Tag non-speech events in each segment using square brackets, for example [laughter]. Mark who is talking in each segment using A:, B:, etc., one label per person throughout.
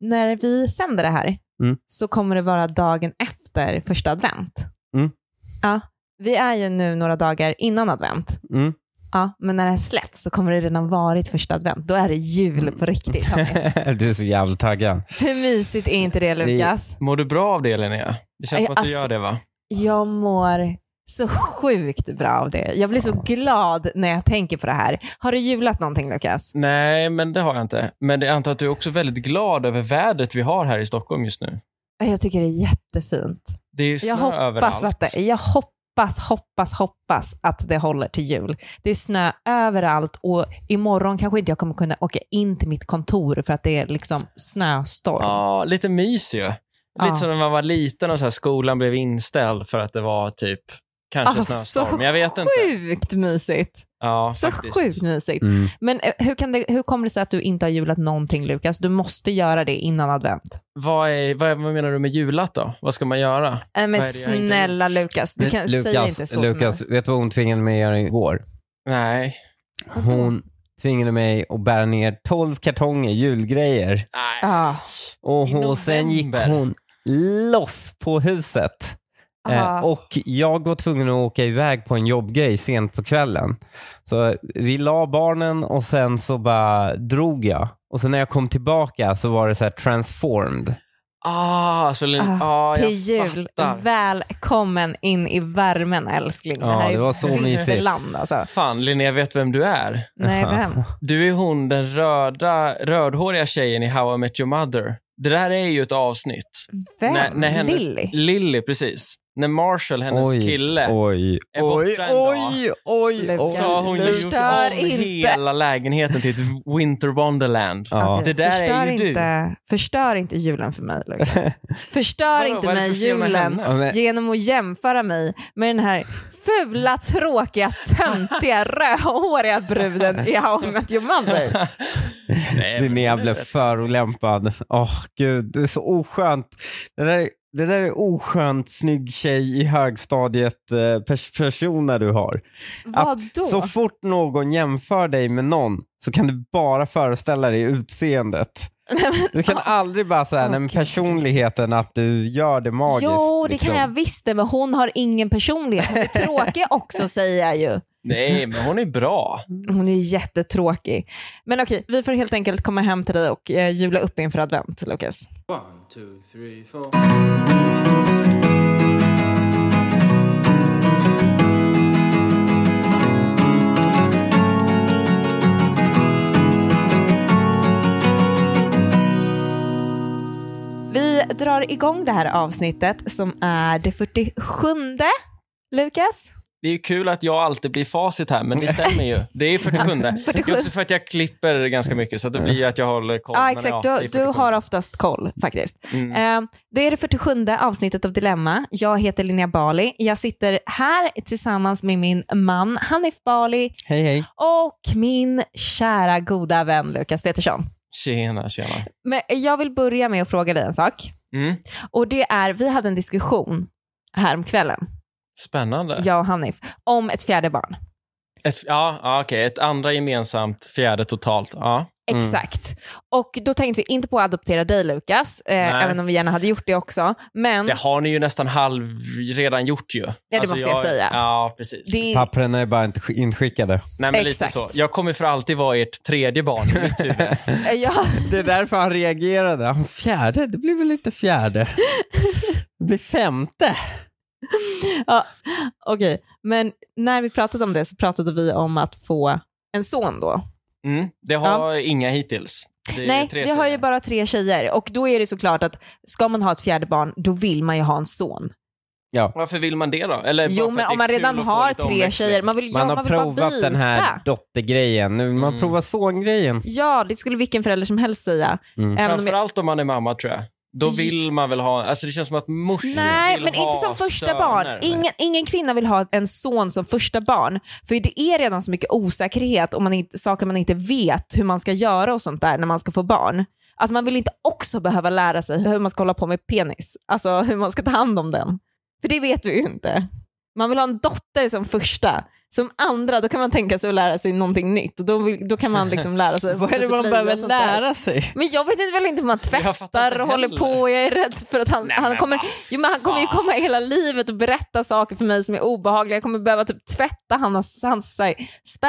A: när vi sänder det här
B: Mm.
A: så kommer det vara dagen efter första advent.
B: Mm.
A: Ja, vi är ju nu några dagar innan advent. [laughs]
B: Mm.
A: Ja, men när det här släpps så kommer det redan varit första advent. Då är det jul på riktigt.
C: [laughs]
A: Tommy.
B: du är så jävla taggad.
A: Hur mysigt är inte det Lukas?
C: Mår du bra av det Linnea? Det känns
A: Nej,
C: som att du
A: alltså-
C: gör det va?
A: Jag mår så sjukt bra av det. Jag blir så glad när jag tänker på det här. Har du julat någonting Lukas?
C: Nej, men det har jag inte. Men jag antar att du är också väldigt glad över vädret vi har här i Stockholm just nu.
A: Jag tycker det är jättefint.
C: Det är ju snö
A: Jag hoppas,
C: överallt.
A: att det, jag hoppas, hoppas, hoppas att det håller till jul. Det är snö överallt och imorgon kanske inte jag kommer kunna åka in till mitt kontor för att det är liksom snöstorm.
C: Ja, lite mys ju.
A: Ja.
C: Lite som när man var liten och så här, skolan blev inställd för att det var typ kanske
A: Ah,
C: snöstorm. Jag vet inte.
A: Sjukt mysigt.
C: Ja,
A: Så
C: faktiskt. Mm.
A: sjukt mysigt. Men eh, hur, kan det, hur kommer det sig att du inte har julat någonting Lukas? Du måste göra det innan advent.
C: Vad, är, vad, är, vad menar du med julat då? Vad ska man göra?
A: Nej men
C: Vad är det jag inte
A: snälla Lukas, du kan,
B: Lukas,
A: säg inte så
B: Lukas,
A: till
B: vet du vad hon tvingade mig att göra igår?
C: Nej.
B: Hon tvingade mig att bära ner 12 kartonger julgrejer.
A: mig.
C: Nej.
A: Ah,
B: Och
C: I
B: hon, sen gick
C: november.
B: hon loss på huset.
A: ah.
B: Eh, och jag var tvungen att åka iväg på en jobbgrej sent på kvällen. Så vi la barnen och sen så bara drog jag. Och sen när jag kom tillbaka så var det så här transformed.
C: Ah, så Lin- ah, jag
A: till jul.
C: fattar.
A: Välkommen in i värmen älskling.
B: Ja,
A: här är
B: det var så mysigt.
A: vinterland, Alltså.
C: Fan, Linnea vet vem du är.
A: Nej,
B: [laughs]
A: vem?
C: Du är hon den röda, rödhåriga tjejen i How I Met Your Mother. Det där är ju ett avsnitt.
A: Vem?
C: När, när hennes,
A: Lilly?
C: Lilly, precis. När Marshall, hennes
B: Oj,
C: kille,
B: Oj,
C: är borta en dag.
B: oj,
A: Lukas,
C: så har hon ju gjort
A: Förstör
C: om
A: inte.
C: hela lägenheten till ett Winter Wonderland.
B: Ja.
A: Okej,
C: Det där är
A: förstör
C: ju du.
A: inte, Förstör inte julen för mig,
B: [laughs]
A: Lukas. Förstör
C: Vadå,
A: inte
C: vad är det
A: mig
C: för fel med
A: julen
C: henne?
B: Ja, men-
A: genom att jämföra mig med den här fula, tråkiga,
B: [laughs]
A: töntiga, rödhåriga bruden i How I Met Your Mother.
C: Nej, men-
B: Linnea blev förolämpad. Åh gud, det är så oskönt. Det där, det där är oskönt snygg tjej i högstadiet eh, pers personer du har.
A: Vadå?
B: Så fort någon jämför dig med någon så kan du bara föreställa
A: [laughs]
B: dig utseendet. Du kan aldrig bara säga nej men
A: ah, Okej.
B: personligheten att du gör det magiskt.
A: Jo, det
B: liksom.
A: kan jag visst det, men hon har ingen personlighet. Hon är tråkig också, säger jag ju.
C: Nej, men hon är bra.
A: Hon är jättetråkig. Men okej, vi får helt enkelt komma hem till dig och eh, jula upp inför advent, Lukas.
D: One, two, three, four.
A: Vi drar igång det här avsnittet som är det 47. Lukas?
C: Det är ju kul att jag alltid blir facit här, men det stämmer ju. Det är
A: [laughs]
C: 47. Det
A: 47.
C: är också för att jag klipper ganska mycket, så att det blir ju att jag håller koll.
A: Ja,
C: men
A: exakt.
C: ja, det
A: Du,
C: är
A: du
C: 47.
A: har oftast koll faktiskt.
C: Mm.
A: Eh, det är det 47 avsnittet av Dilemma. Jag heter Linnea Bali. Jag sitter här tillsammans med min man Hanif Bali
B: Hej hej.
A: och min kära goda vän Lukas Petersson.
C: Tjena, tjena.
A: Men jag vill börja med att fråga dig en sak.
C: Mm.
A: Och det är, vi hade en diskussion häromkvällen,
C: Spännande. Ja,
A: jag och Hanif, om ett fjärde barn.
C: ett, ja, ja okej. Ett andra gemensamt, fjärde totalt. Ja.
B: Mm.
A: Exakt. Och då tänkte vi inte på att adoptera dig Lukas, eh,
C: Nej.
A: även om vi gärna hade gjort det också. Men
C: Det har ni ju nästan halv redan gjort ju. Ja,
A: Mm. det måste jag säga.
C: Ja, precis.
A: det är
B: Pappren är bara inte sk- inskickade.
C: Nej, men lite
A: Exakt.
C: så. Jag kommer för alltid vara ert tredje barn i
A: [laughs]
C: mitt huvud.
A: ja,
B: Det är därför han reagerade. Han, fjärde, det blir väl
A: [laughs]
B: inte fjärde. Det blir femte.
A: okej. Men när vi pratade om det så pratade vi om att få en son då.
C: Mm. Det har inga hittills. Det är
A: Nej,
C: tre
A: vi har ju
C: tjejer.
A: bara tre tjejer och då är det såklart att ska man ha ett fjärde barn, då vill man ju ha en son.
C: Varför vill man det då? Eller bara
A: Jo,
C: för
A: men
C: att
A: om
C: det är
A: man
C: kul
A: redan
C: att få
A: har
C: lite
A: tre
C: omväxling?
A: tjejer, man vill,
B: Man
A: ja,
B: har
A: man vill bara
B: provat den här
A: byta.
B: dottergrejen. Nu vill man
C: Mm.
B: prova songrejen.
A: Ja, det skulle vilken förälder som helst säga.
B: Mm.
A: Även om jag...
C: Framförallt om man är mamma tror jag. Då vill man väl ha, alltså det känns som att morsor
A: Nej,
C: vill
A: men
C: ha
A: inte som första
C: söner.
A: barn. Ingen, ingen kvinna vill ha en son som första barn. För det är redan så mycket osäkerhet och man inte, saker man inte vet hur man ska göra och sånt där när man ska få barn. Att man vill inte också behöva lära sig hur man ska hålla på med penis. Alltså hur man ska ta hand om den. För det vet vi ju inte. Man vill ha en dotter som första. Som andra, då kan man tänka sig att lära sig någonting nytt och då, vill- då kan man liksom lära
E: [laughs]
A: sig.
E: Vad är det
A: lite
E: man
A: blöja
E: behöver
A: och sånt där.
E: lära sig?
A: Men jag vet inte väl inte hur man
C: Jag fattar
A: tvättar
C: inte
A: och håller
C: heller.
A: på. Jag är rädd för att han,
C: Nej,
A: han,
C: men
A: kommer,
C: vad
A: jo, men han kommer ju
C: fan.
A: komma hela livet och berätta saker för mig som är obehagliga. Jag kommer behöva typ tvätta hans, hans så här,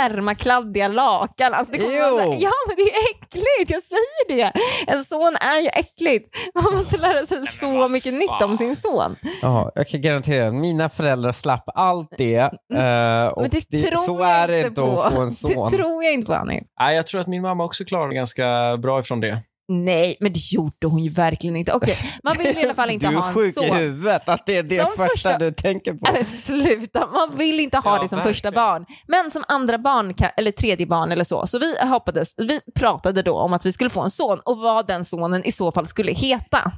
A: spermakladdiga lakan. Alltså, det kommer vara så här,
E: Ew.
A: ja men det är äckligt, jag säger det. En son är ju äckligt. Man måste lära sig så mycket nytt om sin son.
E: Ja, jag kan garantera att mina föräldrar slapp allt det. eh, och
A: Mm. Men det,
E: det-
A: tror
E: så
A: jag
E: är det
A: inte
E: inte
A: på.
E: att få en son.
A: Det tror jag inte på Annie.
C: Nej, jag tror att min mamma också klarade ganska bra ifrån det.
A: Nej, men det gjorde hon ju verkligen inte. Okej,
E: [laughs]
A: man vill i alla fall inte
E: du är
A: ha en
E: sjuk i
A: son.
E: huvudet att det är det
A: Som
E: första,
A: första-
E: du tänker på.
A: Nej, men sluta, man vill inte ha
C: Ja,
A: det som
C: verkligen.
A: första barn. Men som andra barn, kan, eller tredje barn eller så. Så vi, hoppades, vi pratade då om att vi skulle få en son och vad den sonen i så fall skulle heta.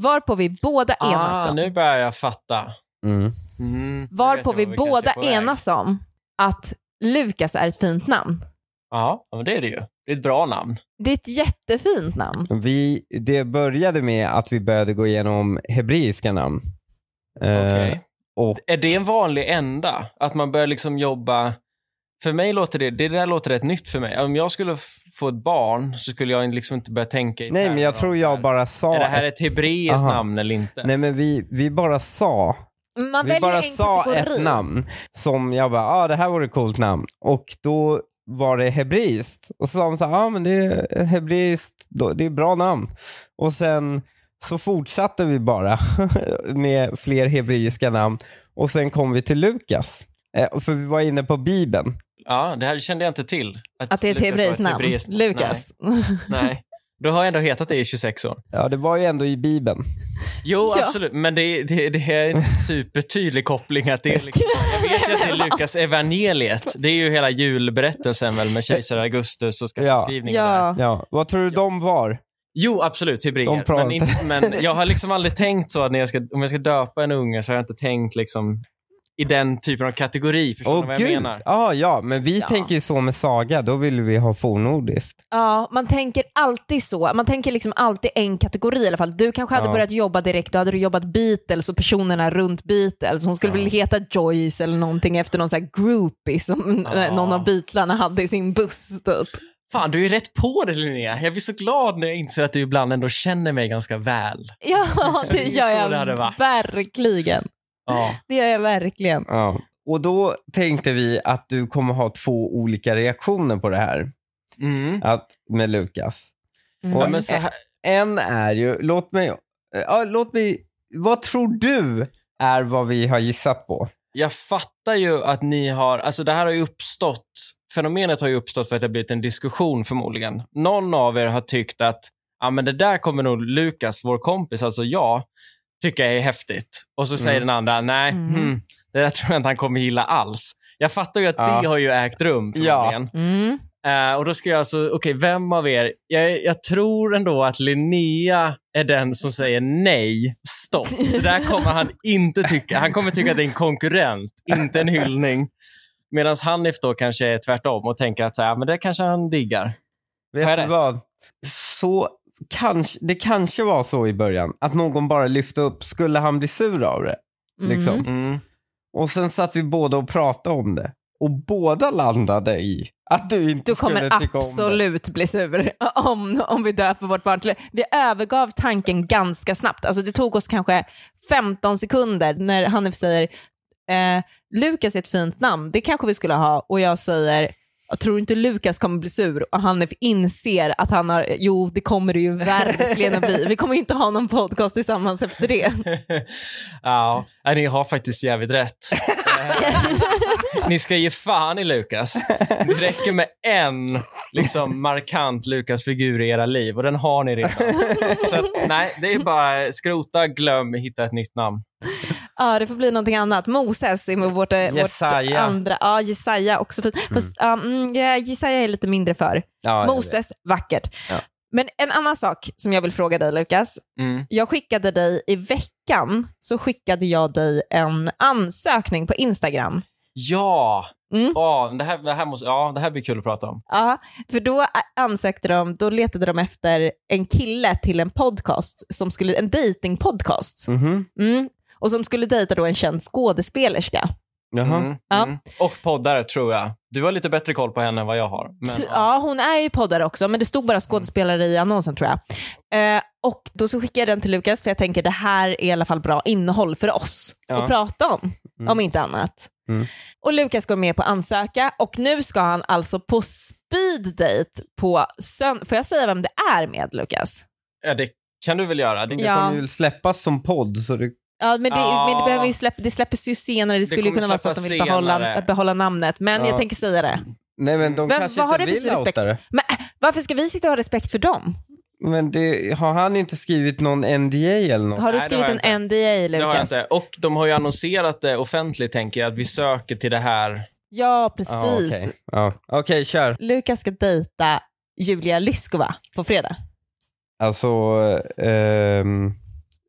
A: Varpå vi båda enas
C: Ah,
A: om,
C: nu börjar jag fatta.
B: Mm.
C: Mm, nu vet
A: varpå
C: jag
A: vi
C: kanske
A: båda
C: är på väg.
A: enas om att Lukas är ett fint namn.
C: Ja, ja, men det är det ju. Det är ett bra namn.
A: Det är ett jättefint namn.
B: Vi, det började med att vi började gå igenom hebreiska namn.
C: Okej.
B: Eh, och
C: Är det en vanlig ända? Att man börjar liksom jobba... För mig låter det, det där låter rätt nytt för mig. Om jag skulle f- få ett barn så skulle jag liksom inte börja tänka i
B: Nej, men
C: termer
B: jag
C: av
B: tror
C: så
B: jag
C: här,
B: bara sa...
C: Är det här
B: ett-
C: ett hebreiskt
B: Aha.
C: namn eller inte?
B: Nej, men vi, vi bara sa.
A: Man
B: Vi
A: väljer
B: bara
A: en
B: sa
A: kategori.
B: ett namn som jag bara, ja ah, det här vore ett coolt namn. Och då var det hebreiskt. Och så sa de så ja ah, men det är ett hebreiskt, då- det är ett bra namn. Och sen så fortsatte vi bara [laughs] med fler hebreiska namn. Och sen kom vi till Lukas. Eh, För vi var inne på Bibeln.
C: Ja, det här kände jag inte till.
A: Att det är ett
C: Lukas var
A: hebreiskt namn.
C: hebreiskt-
A: Lukas.
C: Nej, nej. Du har jag ändå hetat det i 26 år.
B: Ja, det var ju ändå i Bibeln.
C: Jo,
A: Ja.
C: absolut. Men det, det, det är en supertydlig koppling. Att det är
A: [laughs]
C: liksom, jag vet ju att det är Lukas evangeliet. Det är ju hela julberättelsen väl med kejsar Augustus och skatteskrivningen där.
A: ja.
B: Ja, vad tror du de var?
C: Jo, absolut,
B: De
C: hybrider.
B: pratar.
C: Men, in- men jag har liksom aldrig tänkt så att när jag ska, om jag ska döpa en unge så har jag inte tänkt liksom i den typen av kategori. Förstår ni
B: Åh
C: vad jag
B: gud!
C: menar?
B: Ah, ja, men vi
A: Ja.
B: tänker ju så med Saga, då vill vi ha fornordiskt.
A: Ja, man tänker alltid så. Man tänker liksom alltid en kategori i alla fall. Du kanske hade
B: Ja.
A: börjat jobba direkt, då hade du jobbat Beatles och personerna runt Beatles. Hon skulle väl heta Joyce eller någonting efter någon sån här groupie som
C: Ja.
A: någon av Beatlarna hade i sin buss typ. [laughs]
C: Fan, du är rätt på det Linnea. Jag blir så glad när jag inser att du ibland ändå känner mig ganska väl.
A: Ja, det
C: [laughs] Det är
A: gör
C: så
A: jag
C: det hade varit.
A: verkligen.
C: Ja.
A: Det gör jag verkligen.
B: Ja. Och då tänkte vi att du kommer ha två olika reaktioner på det här
C: Mm.
B: att, med Lukas.
A: Mm.
C: Ja,
B: Och
C: men så här,
B: En är ju, låt mig, ja, låt mig, vad tror du är vad vi har gissat på?
C: jag fattar ju att ni har, alltså det här har ju uppstått, fenomenet har ju uppstått för att det har blivit en diskussion förmodligen. Någon av er har tyckt att, ja men det där kommer nog Lukas, vår kompis, alltså jag, tycka är häftigt. Och så säger
B: Mm.
C: den andra, nej,
A: Mm.
C: hmm, det där tror jag inte han kommer gilla alls. Jag fattar ju att
B: Ja.
C: det har ju ägt rum
B: Ja.
C: förmodligen.
A: Mm.
C: Eh, och då ska jag alltså, okej, vem av er? Jag, jag tror ändå att Linnea är den som säger nej, stopp. Det där kommer han inte tycka. Han kommer tycka att det är en konkurrent, inte en hyllning. Medan Hanif då kanske är tvärtom och tänker att så här, men det kanske han diggar. Har
B: Vet
C: jag
B: du
C: rätt?
B: vad? Så, kanske, det kanske var så i början, att någon bara lyfte upp, skulle han bli sur av det?
A: Mm.
B: Liksom. Och sen satt vi båda och pratade om det. Och båda landade i att du inte
A: Du
B: skulle
A: kommer
B: tycka om det.
A: absolut bli sur [laughs] om, om vi döper vårt barn till Vi övergav tanken ganska snabbt. Alltså det tog oss kanske 15 sekunder när Hanif säger eh, Lukas är ett fint namn, det kanske vi skulle ha och jag säger jag tror inte Lukas kommer bli sur och Hanif inser att han har, jo det kommer det ju verkligen att bli. Vi kommer inte ha någon podcast tillsammans efter det.
C: ja, [laughs] nej, ni har faktiskt jävligt rätt. Eh, [laughs] ni ska ge fan i Lukas. Det räcker med en liksom, markant Lukas-figur i era liv och den har ni redan. Så att, nej, det är bara skrota, glöm, hitta ett nytt namn.
A: Ja, det får bli någonting annat. Moses är vårt, eh, vårt
B: Jesaja.
A: andra. Ja, Jesaja också fint. Fast, ja, mm, ja, Jesaja är lite mindre för.
B: Ja, jag vet.
A: Moses, vackert.
B: Ja.
A: Men en annan sak som jag vill fråga dig Lukas.
C: Mm.
A: Jag skickade dig i veckan så skickade jag dig en ansökning på Instagram.
C: Ja!
A: Mm.
C: Ja, det, här, det, här måste, ja, det här blir kul att prata om.
A: Ja, för då ä- ansökte de, då letade de efter en kille till en podcast, som skulle, en datingpodcast.
B: Mhm.
A: Mm. Och som skulle dejta då en känd skådespelerska.
B: Jaha.
C: Mm.
A: Ja.
C: Mm. Och poddare, tror jag. Du har lite bättre koll på henne än vad jag har. Men,
A: Ja, hon är ju poddare också, men det stod bara skådespelare i annonsen tror jag. Eh, och då så skickade jag den till Lukas för jag tänker det här är i alla fall bra innehåll för oss att prata om, om inte annat.
B: Mm.
A: Och Lukas går med på ansöka och nu ska han alltså på speed date på söndag. Får jag säga vem det är med Lukas?
C: ja, det kan du väl göra? Det,
A: Ja.
B: Det kommer ju släppas som podd, så det...
A: Ja, men det,
C: Ja.
A: men det, behöver ju släpp, det släppas ju senare, det skulle ju
C: kommer
A: kunna vara så att de
C: släppas
A: vill behålla,
C: senare.
A: behålla namnet, men
B: Ja.
A: jag tänker säga det.
B: Nej, men de
A: Vem-
B: kanske
A: vad har
B: inte
A: det för
B: vill outa
A: respekt?
B: det.
A: Men äh, varför ska vi sitta och ha respekt för dem?
B: Men det, har han inte skrivit någon NDA eller något?
A: Har du
C: Nej, det
A: skrivit
C: har jag
A: en NDA
C: det har jag
A: Lukas?
C: inte. Och de har ju annonserat det offentligt, tänker jag, att vi söker till det här.
A: Ja,
B: Ja,
A: precis.
B: Okej, ja. Okej, kör.
A: Lukas ska dejta Julia Lyskova på fredag.
B: Alltså, ehm,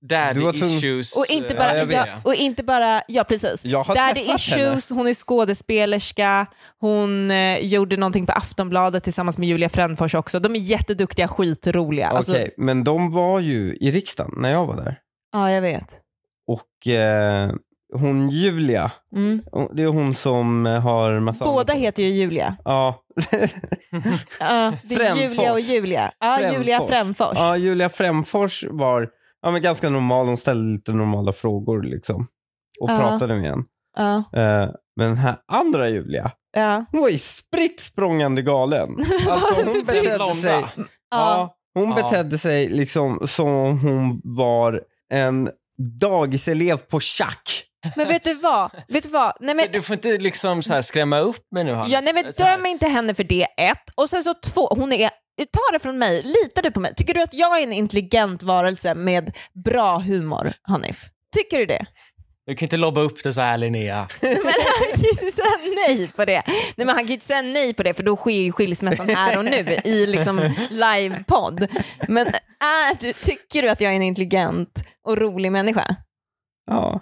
C: Daddy
B: Du var tvungen-
C: issues.
A: Och inte
C: eh,
A: bara,
B: Ja, jag
A: ja, [laughs]
B: vet.
A: och inte bara ja precis.
B: jag har
A: Daddy
B: träffat henne.
A: Issues, hon är skådespelerska, hon eh, gjorde någonting på Aftonbladet tillsammans med Julia Frändfors också. De är jätteduktiga, skitroliga.
B: Okej,
A: Alltså,
B: men de var ju i riksdagen när jag var där.
A: ja, jag vet.
B: Och eh, hon Julia,
A: Mm.
B: det är hon som har massa...
A: Båda heter ju Julia.
B: Ja.
A: Ja, det är
B: Fränfors.
A: Julia och Julia. Ja,
B: Fränfors.
A: Julia Frändfors.
B: ja, Julia Främfors var ja, men ganska normal. Hon ställde lite normala frågor liksom. Och
A: Ja.
B: pratade med en.
A: Ja,
B: Eh, men den här andra Julia,
A: ja,
B: hon var ju spritt språngande [laughs] galen. Alltså hon
A: typ-
B: betedde
C: Blonda.
B: sig...
A: ja.
B: Ja, hon
C: Ja.
B: betedde sig liksom som om hon var en dagiselev på schack.
A: Men vet du vad? Vet du vad? Nej, men
C: Du får inte liksom så här skrämma upp mig nu, Hanna.
A: Ja, nej men
C: Eh, Så här.
A: döm inte henne för det, ett. Och sen så två, hon är, ta det från mig, litar du på mig? Tycker du att jag är en intelligent varelse med bra humor, Hanif? Tycker du det?
C: Du kan inte lobba upp det så här, Linnea.
A: Men [laughs] han kan ju inte säga nej på det. Nej men han kan ju inte säga nej på det för då sker ju skilsmässan här och nu i liksom livepodd. Men är du, tycker du att jag är en intelligent och rolig människa?
B: Ja.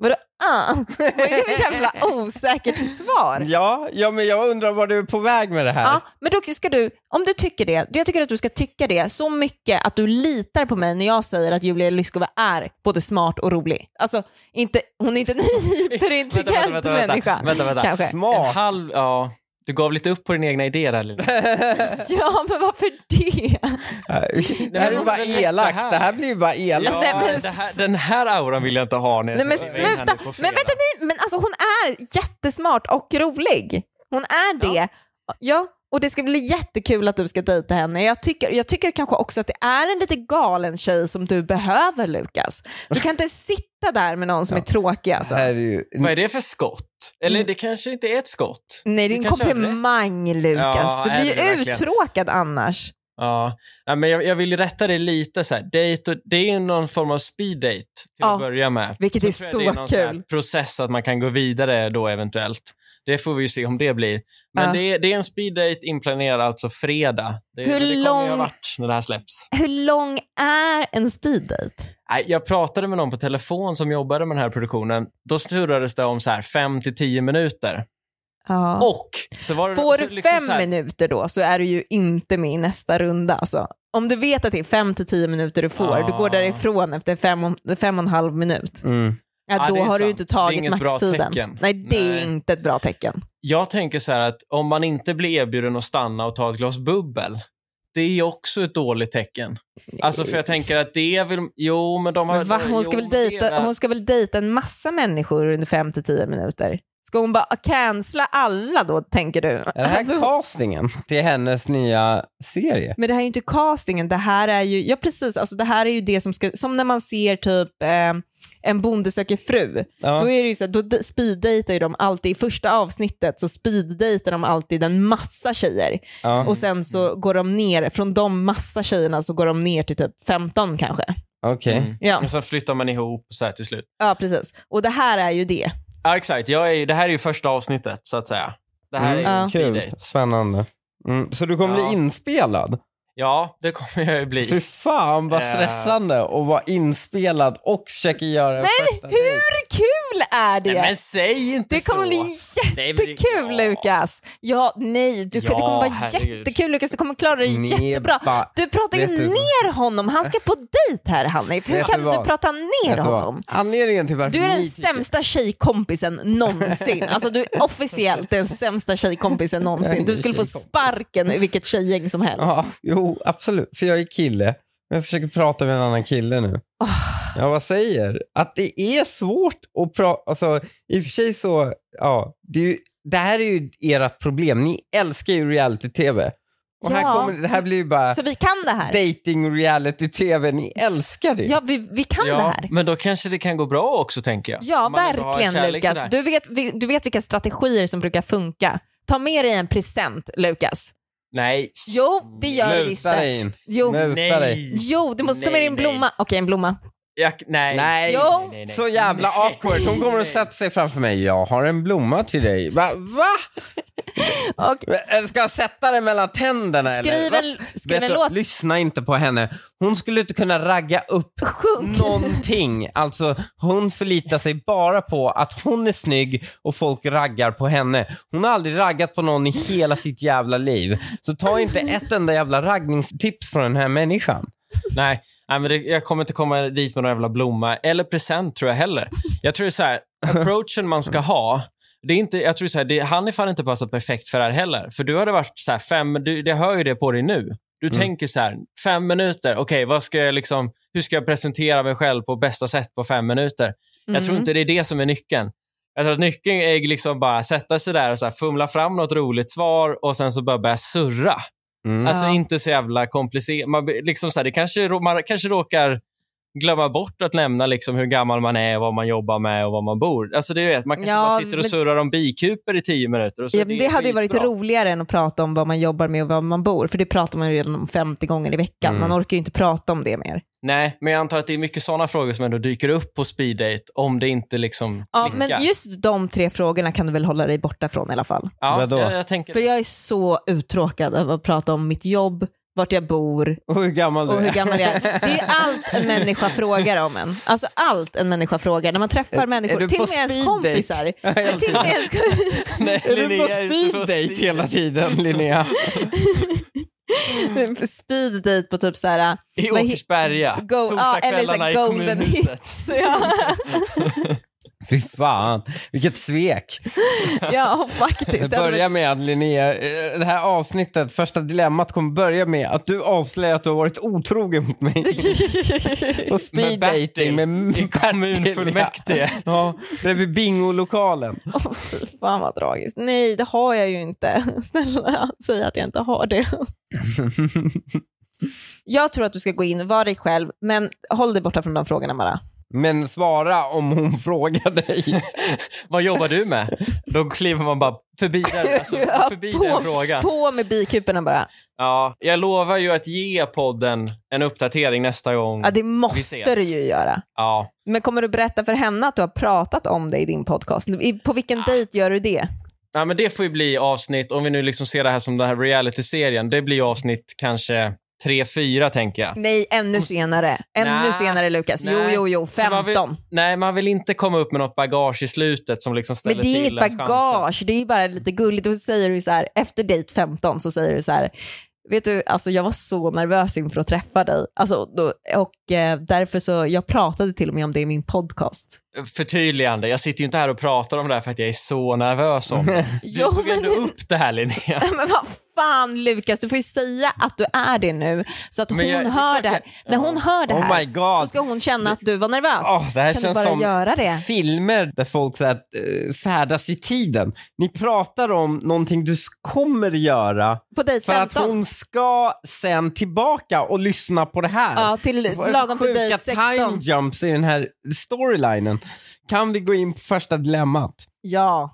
A: Vadå ah? Vad är det för jävla osäkert svar?
B: Ja, ja, men jag undrar var du är på väg med det här.
A: Ja, men då ska du, om du tycker det, jag tycker att du ska tycka det så mycket att du litar på mig när jag säger att Julia Lyskova är både smart och rolig. Alltså, inte, hon är inte en [laughs] hyperintelligent
C: Vänta, vänta, vänta,
A: människa.
C: vänta, vänta.
A: Kanske.
C: En
B: Smart.
C: halv, ja. Du gav lite upp på din egna idé där,
A: [laughs]
C: Linnea.
A: Ja, men varför det?
B: det här är ju
C: men-
B: bara
C: men-
B: elakt. Det här blir ju bara elakt.
A: Nej, men-
C: det här, den här auran vill jag inte ha när jag
A: Nej men
C: ska ringa
A: sluta.
C: henne på fredag.
A: Men vänta ni, men alltså hon är jättesmart och rolig. Hon är det. Ja. och det ska bli jättekul att du ska dejta henne. Jag tycker, jag tycker kanske också att det är en lite galen tjej som du behöver Lukas. Du kan
C: [laughs]
A: inte sitta där med någon som är tråkig alltså.
B: Det här är ju...
C: Vad är det för skott? Eller det kanske inte är ett skott?
A: Nej, det är
C: Du
A: en
C: kanske har
A: komplimang Lukas.
C: Ja,
A: du
C: är
A: blir
C: det
A: ju
C: verkligen?
A: uttråkad annars.
C: Ja, ja men jag, jag vill ju rätta dig lite så här. Dejt och, det är ju någon form av speed date till
A: Ja,
C: att börja med.
A: vilket är
C: tror jag
A: så
C: det är någon så här
A: kul.
C: process att man kan gå vidare då eventuellt. Det får vi ju se om det blir. Men
A: Ja.
C: det, är, det är en speed date inplanerad alltså fredag. Det,
A: Hur
C: men det kommer ju ha
A: lång-
C: varit när det här släpps.
A: Hur lång är en speeddate?
C: Nej, Jag pratade med någon på telefon som jobbade med den här produktionen. Då snurrades det om så här 5 till 10 minuter.
A: Ja.
C: Och så var det
A: Får
C: så
A: du
C: liksom
A: fem
C: så här-
A: minuter då så är du ju inte med i nästa runda. Alltså. Om du vet att det är fem till tio minuter du får,
C: Ja.
A: du går därifrån efter fem och, fem och en halv minut.
B: Mm.
A: Ja,
C: Ja,
A: då
C: det är
A: har du ju
C: sant.
A: inte
C: Det är
A: tagit
C: inget bra
A: maxtiden.
C: tecken.
A: Nej, det
C: Nej.
A: är inte ett bra tecken.
C: Jag tänker så här att om man inte blir erbjuden att stanna och ta ett glas bubbel, det är också ett
A: [laughs]
C: dåligt tecken. Alltså för jag tänker att det vill... Jo, men de har...
A: Men va? Hon, ska
C: jo,
A: väl
C: det är
A: dejta,
C: väl-
A: hon ska väl dejta en massa människor under fem till tio minuter? Ska hon bara cancella alla då, tänker du?
B: Är det här
A: Alltså-
B: castingen till hennes nya serie?
A: Men det här är ju inte castingen, det här är ju, ja precis, alltså det här är ju det som ska, som när man ser typ eh, en bonde söker fru,
B: Ja.
A: då är det ju så att då d- speeddejtar ju de alltid, i första avsnittet så speeddejtar de alltid en massa tjejer
B: Ja. Mm.
A: och sen så går de ner, från de massa tjejerna så går de ner till typ 15 kanske.
B: Okej.
C: Mm.
A: Ja,
C: Och sen flyttar man ihop så här till slut.
A: ja precis. Och det här är ju det.
C: Ja, exakt. Jag är, ju- det här är ju första avsnittet, så att säga. Det här
B: Mm.
C: är ju
A: Ja.
C: en
B: Kul.
C: speeddate.
B: Spännande. Mm. Så du kommer
C: Ja.
B: bli inspelad?
C: Ja, det kommer jag ju
B: Fy
C: bli.
B: fan vad
C: Eh.
B: stressande att vara inspelad och försöka göra en
A: Men
B: första dejt.
A: hur kul kul är det?
C: Nej, men säg inte
A: det kommer
C: så.
A: bli
C: Nej, men det-
A: jättekul
C: ja.
A: Lukas! Ja, nej, du, det
C: Ja,
A: kommer vara
C: herregud.
A: jättekul Lukas, du kommer klara dig
B: Ni
A: jättebra.
B: ba-
A: Du pratar ju
B: Vet du-
A: ner honom, han ska på dejt här Hanif. Hur
B: Vet
A: kan
B: du
A: du
B: vad?
A: prata ner
B: Vet du vad?
A: honom?
B: Alltså, Anledningen till varför
A: Du är
B: ni
A: den
B: tycker-
A: sämsta tjejkompisen någonsin. Alltså du är officiellt den sämsta tjejkompisen någonsin. Du skulle få sparken i vilket tjejgäng som helst.
B: Ja, jo, absolut. För jag är kille. Men jag försöker prata med en annan kille nu. Ja, vad säger? Att det är svårt att prata... Alltså, i och för sig så... Ja, det, är ju, det här är ju ert problem. Ni älskar ju reality-tv. Och
A: Ja.
B: här kommer, det här blir ju bara
A: Så vi kan det här.
B: dating och reality-tv. Ni älskar det.
A: Ja, vi, vi kan det
C: Ja,
A: här.
C: men då kanske det kan gå bra också, tänker jag.
A: Ja,
C: Om man ändå har
A: verkligen
C: kärleken
A: Lukas.
C: där.
A: Du vet, vi- du vet vilka strategier som brukar funka. Ta med dig en present Lukas.
C: Nej.
A: Jo, det gör du visst.
B: Muta dig in.
A: Jo,
B: Muta dig.
C: Nej.
A: jo, du måste ta med
C: Nej,
A: dig en
C: nej.
A: blomma. Okej, en blomma.
C: Jag, nej.
B: Nej.
A: Jo.
C: Nej, nej, nej.
B: Så jävla awkward. Hon kommer att
C: Nej.
B: sätta sig framför mig. Jag har en blomma till dig. Va? Va?
A: Och
B: Ska jag sätta det mellan tänderna eller?
A: skriv
B: Va?
A: en, skriv
B: Vet
A: en
B: du,
A: låt.
B: Lyssna inte på henne. Hon skulle inte kunna ragga upp
A: Sjung.
B: någonting. Alltså, hon förlitar sig bara på att hon är snygg och folk raggar på henne. Hon har aldrig raggat på någon i hela sitt jävla liv. Så ta inte ett enda jävla raggningstips från den här människan.
C: Nej, nej men det, jag kommer inte komma dit med någon jävla blomma eller present tror jag heller. Jag tror det är så här, approachen man ska ha, det är inte, jag tror så här, det, han är fan inte passat perfekt för det här heller. För du hade varit så här fem, du, jag hör ju det på dig nu. Du
B: Mm.
C: tänker så här, fem minuter, okej, vad ska jag liksom, hur ska jag presentera mig själv på bästa sätt på fem minuter? Jag tror
A: Mm.
C: inte det är det som är nyckeln. Jag tror att nyckeln är liksom bara sätta sig där och så här, fumla fram något roligt svar och sen så bara börja surra.
B: Mm.
C: Alltså
A: Ja.
C: inte så jävla komplicerat. Man, blir- liksom så här, det kanske, rå- man kanske råkar glömma bort att nämna liksom hur gammal man är, vad man jobbar med och var man bor. Alltså det vet, man kanske
A: Ja,
C: bara sitter och
A: men-
C: surrar om bikuper i tio minuter. Och så
A: Ja,
C: är
A: men det hade ju varit
C: skitbra.
A: roligare än att prata om vad man jobbar med och var man bor, för det pratar man ju redan om 50 gånger i veckan.
B: Mm.
A: Man orkar ju inte prata om det mer.
C: Nej, men jag antar att det är mycket sådana frågor som ändå dyker upp på speeddate om det inte liksom
A: Ja,
C: klickar.
A: men just de tre frågorna kan du väl hålla dig borta från i alla fall.
C: ja,
B: Vadå?
C: jag, jag tänker
A: För jag är så uttråkad av att prata om mitt jobb, vart jag bor
B: Och hur gammal du
A: och hur
B: är.
A: gammal jag är. Det är allt en människa frågar om en. Alltså allt en människa frågar när man träffar människor,
B: du
A: till
B: på
A: och med ens
B: speed date?
A: kompisar. Men till och med ens
C: [laughs] Nej,
B: Är du
C: Linnea
B: på
C: är ute
B: speed date hela tiden, Linnea?
A: [laughs] speed date på typ så här...
C: I
A: vad he-
C: Åkersberga,
A: Go- ja, eller så här
C: torsdagskvällarna i
A: golden
C: kommunhuset.
A: [laughs] Ja,
B: Fy fan, vilket svek.
A: ja, faktiskt.
B: Det börjar med att Linnea, eh, det här avsnittet, första dilemmat kommer börja med att du avslöjar att du har varit otrogen
A: [laughs]
B: mot mig. På speed
C: Med Bertil
B: dating med
C: i
B: Bertil, ja.
C: kommunfullmäktige.
B: [laughs] Ja, bredvid bingolokalen.
A: Åh, fy fan vad tragiskt. Nej, det har jag ju inte. [laughs] Snälla, säg att jag inte har
C: [laughs]
A: det. jag tror att du ska gå in, var dig själv, men håll dig borta från de frågorna bara.
B: Men svara om hon [laughs] frågar dig.
C: Vad jobbar du med? Då kliver man bara förbi den,
A: [laughs]
C: alltså, förbi den frågan.
A: på med bikuporna bara.
C: Ja, jag lovar ju att ge podden en uppdatering nästa gång.
A: Ja, det
C: Vi
A: måste
C: ses.
A: du ju göra.
C: Ja.
A: Men kommer du berätta för henne att du har pratat om det i din podcast? I- På
C: Ah.
A: vilken dejt gör du det?
C: Nej, men det får ju bli avsnitt, om vi nu liksom ser det här som den här reality-serien, det blir ju avsnitt kanske tre fyra tänker jag.
A: Nej, ännu senare. Ännu
C: Nej.
A: senare Lukas. Jo,
C: Nej.
A: jo, jo.
C: För man
A: 15.
C: vill- Nej, man vill inte komma upp med något bagage i slutet som liksom ställer
A: Men det är
C: till
A: inget
C: ens chanser.
A: bagage, det är bara lite gulligt. Och så säger du så här, efter dejt 15 så säger du så här, vet du, alltså jag var så nervös inför att träffa dig. Alltså, då, och eh, därför så, jag pratade till och med om det i min podcast.
C: Förtydligande, jag sitter ju inte här och pratar om det här för att jag är så nervös om det.
A: [laughs]
C: Du
A: Jo,
C: tog
A: men-
C: ändå upp det här Linnea.
A: Men vad fan Lukas, du får ju säga att du är det nu så att
C: Men
A: hon
C: jag- det är
A: hör
C: klart
A: det här.
C: jag-
A: När hon hör det
B: Oh my
A: här så
B: god.
A: ska hon känna att du var nervös.
B: Åh, det här
A: kan du
B: känns
A: bara
B: som
A: göra det?
B: filmer där folk så här, eh, färdas i tiden. Ni pratar om någonting du s- kommer göra
A: På dejt
B: för att
A: 15?
B: hon ska sen tillbaka och lyssna på det här.
A: Ja, till,
B: Vad är det för
A: lagom till
B: sjuka
A: dejt 16.
B: time jumps i den här storylinen. Kan vi gå in på första dilemmat?
A: [laughs] Ja.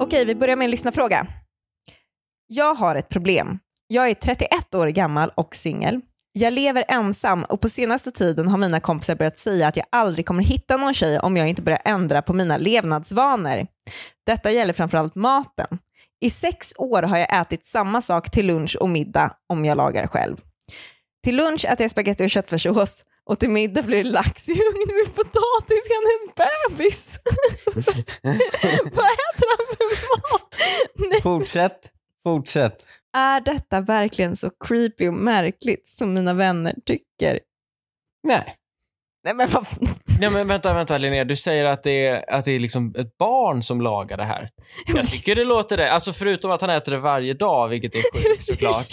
A: Okej, vi börjar med en lyssnarfråga. Jag har ett problem. Jag är 31 år gammal och singel. Jag lever ensam och på senaste tiden har mina kompisar börjat säga att jag aldrig kommer hitta någon tjej om jag inte börjar ändra på mina levnadsvanor. Detta gäller framförallt maten. I sex år har jag ätit samma sak till lunch och middag om jag lagar själv. Till lunch äter jag spagetti och köttfärssås Och till middag blir det lax i ugn med potatis. Han är en bebis. Vad äter han för mat? Nej.
B: Fortsätt, fortsätt.
A: Är detta verkligen så creepy och märkligt som mina vänner tycker?
B: Nej.
A: Nej men vad fan.
C: Nej, men vänta, vänta Linnea. Du säger att det är, att det är liksom ett barn som lagar det här. Jag tycker det låter det. Alltså förutom att han äter det varje dag, vilket är
A: [laughs]
C: sjukt såklart.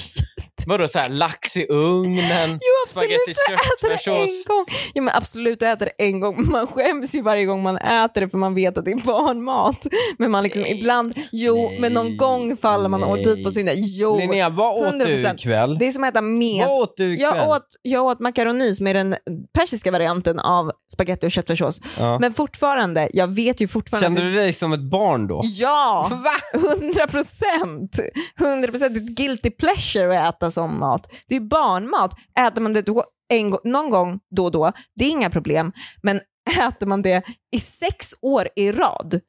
C: Vadå, så här, lax i ugnen,
A: Jo absolut,
C: spagetti
A: jag äter det
C: köttfärssås.
A: en gång. Ja, men absolut, jag äter det en gång. Man skäms ju varje gång man äter det för man vet att det är barnmat. Men man liksom ibland, jo, men någon gång faller man och dit på
B: nej.
A: synder. Jo,
B: Linnea, vad åt du
A: 100%.
B: ikväll?
A: det är som att äta mes.
B: Vad åt du ikväll?
A: Jag åt, jag åt makaroni som är den persiska varianten av spagetti och köttfärssås.
B: Ja.
A: Men fortfarande, jag vet ju fortfarande.
B: Kände du dig som ett barn då?
A: Ja! Hundra procent! Hundra procent. Det är ett guilty pleasure att äta sån mat. Det är ju barnmat. Äter man det då, en, gång- någon gång då och då, det är inga problem. Men [laughs] äter man det i sex år i rad,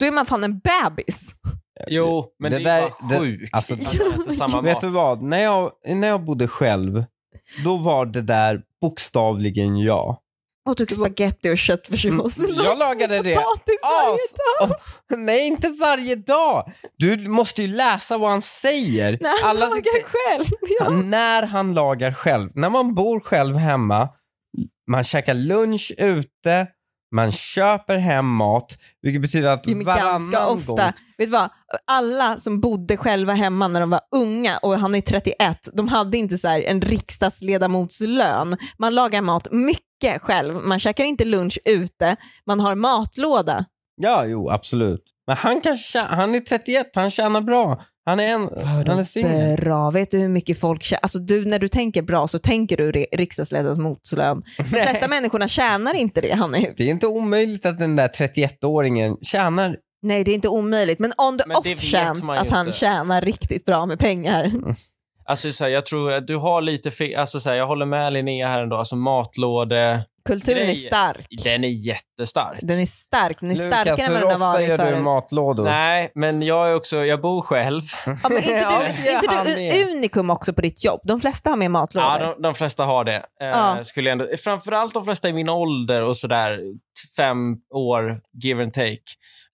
A: då är man fan en bebis.
C: Jo, men det,
B: Det
C: är ju
B: där-
C: bara
B: det-
C: sjukt.
B: alltså-
C: att man äter samma
B: Vet
C: mat.
B: du vad? När jag, när jag bodde själv, då var det där bokstavligen jag.
A: Och tog spagetti och köttfärssås.
B: Mm, jag lagade det.
A: Potatis varje
B: As-
A: dag.
B: Åh, nej, inte varje dag! Du måste ju läsa vad han säger.
A: Nej, han
B: Alla-
A: lagar själv. Ja.
B: När han lagar själv. När man bor själv hemma, man käkar lunch ute, man köper hem mat, vilket betyder att
A: Jo, men
B: varannan
A: ganska ofta.
B: gång...
A: Vet du vad? Alla som bodde själva hemma när de var unga och han är 31, de hade inte så här en riksdagsledamotslön. Man lagar mat mycket själv, man käkar inte lunch ute, man har matlåda.
B: Ja, jo, absolut. Men han, kan tjä- han är 31, han tjänar bra. Han är, en, han är singel.
A: Bra, vet du hur mycket folk tjänar? Alltså du, när du tänker bra så tänker du ri- riksdagsledamotslön. De flesta människorna tjänar inte det, Hanif.
B: Det är inte omöjligt att den där 31-åringen tjänar...
A: Nej, det är inte omöjligt, men on the
C: Men
A: off
C: det vet
A: chance
C: man ju
A: att han
C: inte.
A: tjänar riktigt bra med pengar.
C: Alltså, så här, jag tror att du har lite fel. Alltså, så här, jag håller med Linnea här ändå. Alltså matlåde...
A: Kulturen är
C: Grejer.
A: stark.
C: Den är jättestark.
A: Den är stark, den är starkare
B: Lukas,
A: än vad
B: hur
A: den har
B: ofta
A: varit
B: gör du
A: förut.
B: matlådor?
C: Nej, men jag är också... Jag bor själv.
A: Ja, men inte
B: [laughs] Ja,
A: du,
B: det gör han
A: inte
B: med.
A: du unikum också på ditt jobb? De flesta har med matlådor.
C: Ja, de, de flesta har det. Eh,
A: Ja.
C: skulle jag ändå, framförallt de flesta i min ålder och sådär fem år, give and take.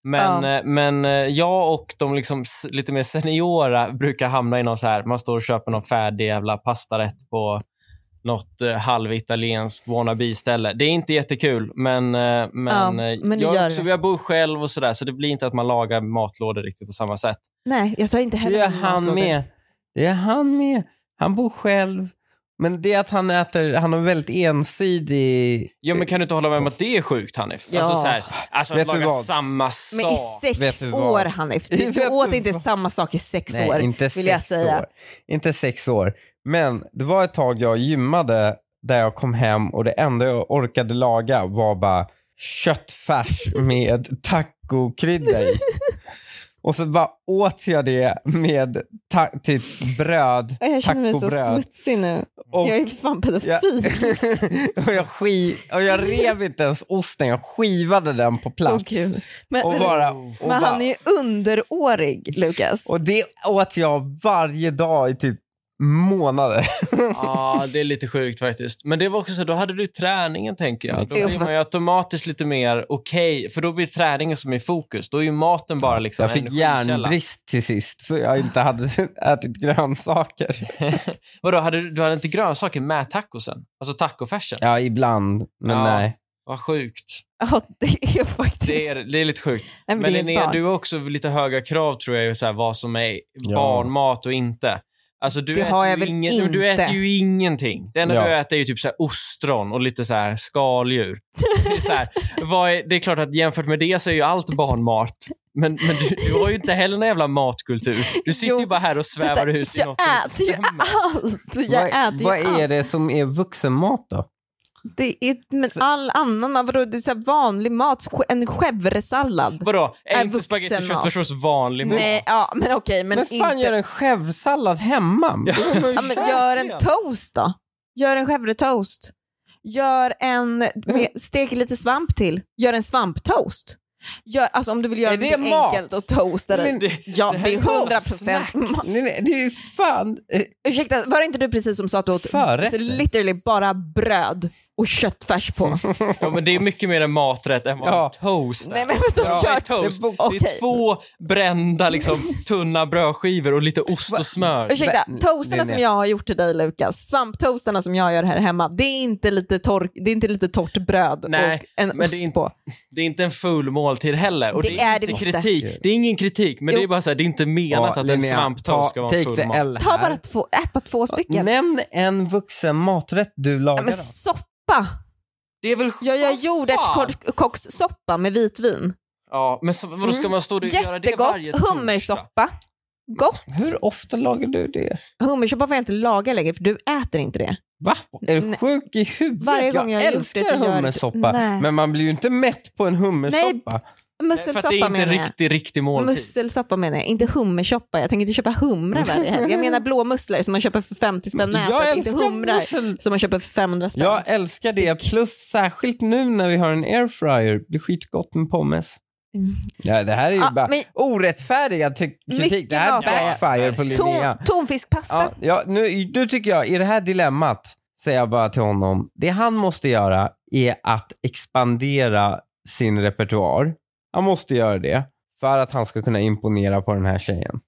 C: Men,
A: Ja.
C: eh, men eh, jag och de liksom s- lite mer seniora [laughs] brukar hamna i någon så här, man står och köper någon färdig jävla pastarätt på något eh, halvitalienskt wannabe-ställe. Det är inte jättekul, men, eh, men,
A: Ja,
C: eh,
A: men du
C: jag,
A: gör
C: är också,
A: det.
C: jag bor själv och sådär, så det blir inte att man lagar matlådor riktigt på samma sätt.
A: Nej, jag tar inte heller
B: Det är
A: med
B: han
A: matlådor.
B: med. Det är han med. Han bor själv. Men det att han äter, han har väldigt ensidig...
C: Ja, men kan du inte hålla med om att det är sjukt, Hanif?
A: Ja.
C: Alltså, så här, alltså att
B: Vet du
C: laga
B: vad?
C: samma sak.
A: Men i
B: Vet
A: sex
B: du vad?
A: år, Hanif.
B: [laughs]
A: Du,
B: Vet
A: du
B: du
A: åt inte
B: vad?
A: samma sak i sex
B: Nej,
A: år,
B: inte
A: vill
B: sex
A: jag säga.
B: År. Inte sex år. Men det var ett tag jag gymmade där jag kom hem och det enda jag orkade laga var bara köttfärs
A: [laughs]
B: med tacokrydda i. Och så bara åt jag det med ta- typ bröd,
A: Äh, Jag känner mig så
B: tacobröd.
A: smutsig nu.
B: Och
A: jag är fan pedofil.
B: jag, [laughs] och, jag ski- och jag rev inte ens osten, jag skivade den
A: [laughs]
B: på
A: Åh,
B: plats.
A: gud. men,
B: och
A: men,
B: bara, och
A: men
B: bara,
A: han är ju underårig, Lukas.
B: och det åt jag varje dag i typ månader.
C: Ja, det är lite sjukt faktiskt. Men det var också så, då hade du träningen tänker jag. Då
A: Jo,
C: blir
A: fast-
C: man ju automatiskt lite mer okej, för då blir träningen som är i fokus. Då är ju maten bara liksom
B: jag
C: en
B: fick
C: energikälla.
B: järnbrist till sist för jag inte hade [laughs] ätit grönsaker.
C: Vadå, hade, du- du hade inte grönsaker med tacosen? Alltså tacofärsen?
B: Ja, ibland, men
C: Ja.
B: nej.
C: Vad sjukt.
A: Ja, det är faktiskt...
C: Det är, det är lite sjukt.
A: Nej, men
C: Men
A: det är ett
C: Linnea,
A: barn.
C: du har också lite höga krav tror jag, ju så här, vad som är
B: Ja.
C: barnmat och inte. Alltså, du
A: Det
C: äter
A: har jag
C: ju
A: väl
C: ingen,
A: inte.
C: Du äter ju ingenting. Det enda
B: Ja.
C: du äter är ju typ så här ostron och lite så här skaldjur. Det är,
A: [laughs]
C: så här, vad är, det är klart att jämfört med det så är ju allt barnmat. Men, men du, du har ju inte heller någon jävla matkultur. Du sitter
A: Jo,
C: ju bara här och svävar
A: Titta,
C: ut i
A: jag
C: något som inte
A: äter ju
C: stämmer.
A: allt. Jag äter
B: vad
A: ju
B: vad
A: allt.
B: är det som är vuxenmat då?
A: Det är, men all annan mat, vadå, det är så här vanlig mat, sk- en chèvresallad.
C: Vadå,
A: Är
C: är inte
A: vuxenmat.
C: spagetti och köttfärssås vanlig mat?
A: Nej, ja, men okej,
B: Men,
A: men,
B: fan
A: inte...
B: gör en chèvresallad hemma?
A: ja, men gör en toast då. Gör en chèvretoast. Gör en, med, stek lite svamp till. Gör en svamptoast. Gör, alltså om du vill göra
B: Är det
A: det
B: mat?
A: enkelt och toasta det.
B: Men
A: ja, det är 100 procent mat.
B: Nej, nej, det är ju fan... eh,
A: Ursäkta, var det inte du precis som sa att du åt
B: Förrätter.
A: så literally bara bröd och köttfärs på?
C: Ja, men det är mycket mer en maträtt än vad
B: Ja.
C: en toast är.
A: Nej men de
C: Ja,
A: gör
C: en toast.
A: Det,
C: Det är
A: Okej.
C: två brända liksom, tunna brödskivor och lite ost och smör.
A: Ursäkta,
B: Men- det
A: toastarna
B: är
A: som
B: med.
A: jag har gjort till dig Lukas, svamptoastarna som jag gör här hemma, det är inte lite, tork, det är inte lite torrt bröd
C: Nej,
A: och en
C: men det är
A: ost
C: inte-
A: på.
C: Det är inte en full måltid heller. Och det,
A: Det
C: är,
A: är det visst
C: inte
A: det.
C: kritik. Det är ingen kritik, men
A: Jo.
C: det är bara så här, det är inte menat
B: ja,
C: att en
B: Linnea, ta-
C: svamptoast ska vara en
B: Take
C: full
B: the
C: måltid.
B: L
A: Ta
B: här.
A: bara två, ät bara två stycken.
F: Nämn en vuxen maträtt du
A: Ja,
F: lagar.
A: men
F: då.
A: soppa!
C: Det är väl
A: Jag gör
C: Vad fan?
A: jordärtskockssoppa med vitvin.
C: Ja, men så, vadå, ska
A: Mm.
C: man stå och göra det
A: Jättegott.
C: varje torsdag?
A: Hummersoppa. Gott.
B: Hur ofta lagar du det?
A: Hummersoppa får jag inte laga längre för du äter inte det.
B: Va? Är du
A: Nej.
B: sjuk i huvudet?
A: Varje gång jag har gjort det
B: älskar
A: så gör jag-
B: hummersoppa,
A: Nej.
B: men man blir ju inte mätt på en hummersoppa.
C: För att det är
A: Musselsoppa
C: inte
A: menar jag.
C: riktig, riktig måltid.
A: Musselsoppa menar jag, inte hummersoppa. Jag tänker inte köpa humrar varje helg. Jag menar blåmusslor som man köper för 50 spänn
B: jag
A: nätet, inte
B: älskar
A: humrar
B: mussel...
A: som man köper för 500 spänn.
B: Jag älskar det, plus särskilt nu när vi har en airfryer. Det blir skitgott med pommes.
A: Mm.
B: Ja, det här är ju
A: Ja,
B: bara
A: men-
B: orättfärdiga te- kritik.
A: Mycket
B: Det här
A: mat är det.
B: backfire på Linnea.
A: Ton, tonfiskpasta.
B: Ja, ja, nu, nu tycker jag, i det här dilemmat, säger jag bara till honom, det han måste göra är att expandera sin repertoar. Han måste göra det för att han ska kunna imponera på den här tjejen.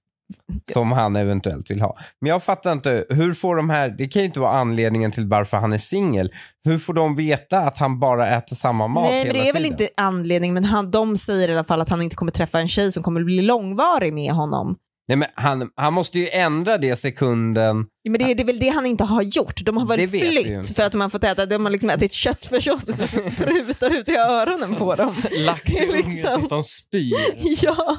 B: Som han eventuellt vill ha. Men jag fattar inte, hur får de här, det kan ju inte vara anledningen till varför han är singel. Hur får de veta att han bara äter samma mat
A: Nej,
B: hela
A: men det är väl
B: tiden?
A: inte anledning, men han, de säger i alla fall att han inte kommer träffa en tjej som kommer bli långvarig med honom.
B: Nej, men han, han måste ju ändra det sekunden.
A: Ja, Men det, är- det är väl det han inte har gjort. De har
B: Det
A: väl
B: vet vi ju inte.
A: flytt för att de har fått äta, de har liksom ätit köttfärssås och
B: [laughs]
A: så sprutar ut i öronen på dem.
C: Lax
A: Det
C: i
A: är
C: ugnen
A: [laughs] liksom-
C: tills de spyr.
A: Ja.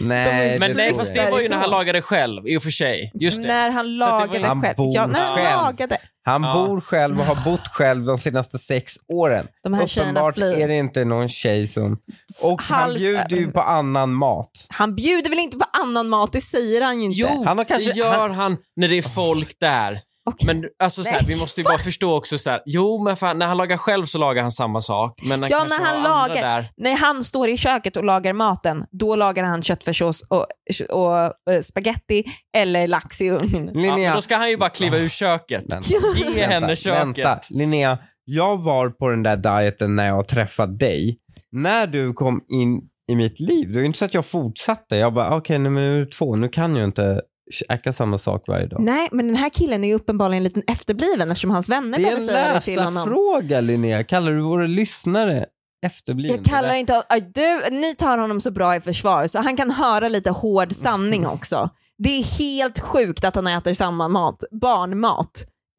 B: Nej,
C: Men
B: det
C: nej,
B: tror
C: fast
B: jag
C: det var ju när
A: Därifrån.
C: han lagade själv, i och för sig. Just det.
A: När han
C: var
A: lagade
C: ju-
B: Han
A: själv.
B: bor
A: Ja, när han
B: själv.
A: lagade.
B: Han
C: Ja.
B: bor själv och har bott själv de senaste sex åren.
A: De här tjejerna
B: Uppenbart är
A: flyr.
B: det inte någon tjej som... Och han
A: Hals-
B: bjuder ju på annan mat.
A: Han bjuder väl inte på annan mat, det säger han ju inte.
C: Jo,
B: Han har kanske-
C: det gör han när det är folk där.
A: Okej.
C: Men alltså, så här,
A: Nej,
C: vi måste ju bara förstå också så här. Jo, men fan, när han lagar själv så lagar han samma sak. Men han
A: Ja,
C: kanske
A: när han
C: har andra
A: lagar.
C: Där.
A: När han står i köket och lagar maten, då lagar han köttfärssås och, och eh, spaghetti eller lax i
B: [laughs]
A: ugn.
C: Ja, men
B: Linnea, Ah,
C: då ska han ju bara kliva ur köket.
B: Vänta.
C: Ge henne köket.
B: vänta. Linnea, jag var på den där dieten när jag träffade dig. När du kom in i mitt liv, det var ju inte så att jag fortsatte. Jag bara, okej, nu men nu är det två, nu kan jag inte käka samma sak varje dag.
A: Nej, men den här killen är ju uppenbarligen lite efterbliven eftersom hans vänner
B: Det är
A: behöver
B: en
A: säga det till honom.
B: läsarfråga Linnea. Kallar du våra lyssnare efterblivna?
A: Jag kallar inte... ah, Du, ni tar honom så bra i försvar så han kan höra lite hård sanning också. Det är helt sjukt att han äter samma mat, barnmat,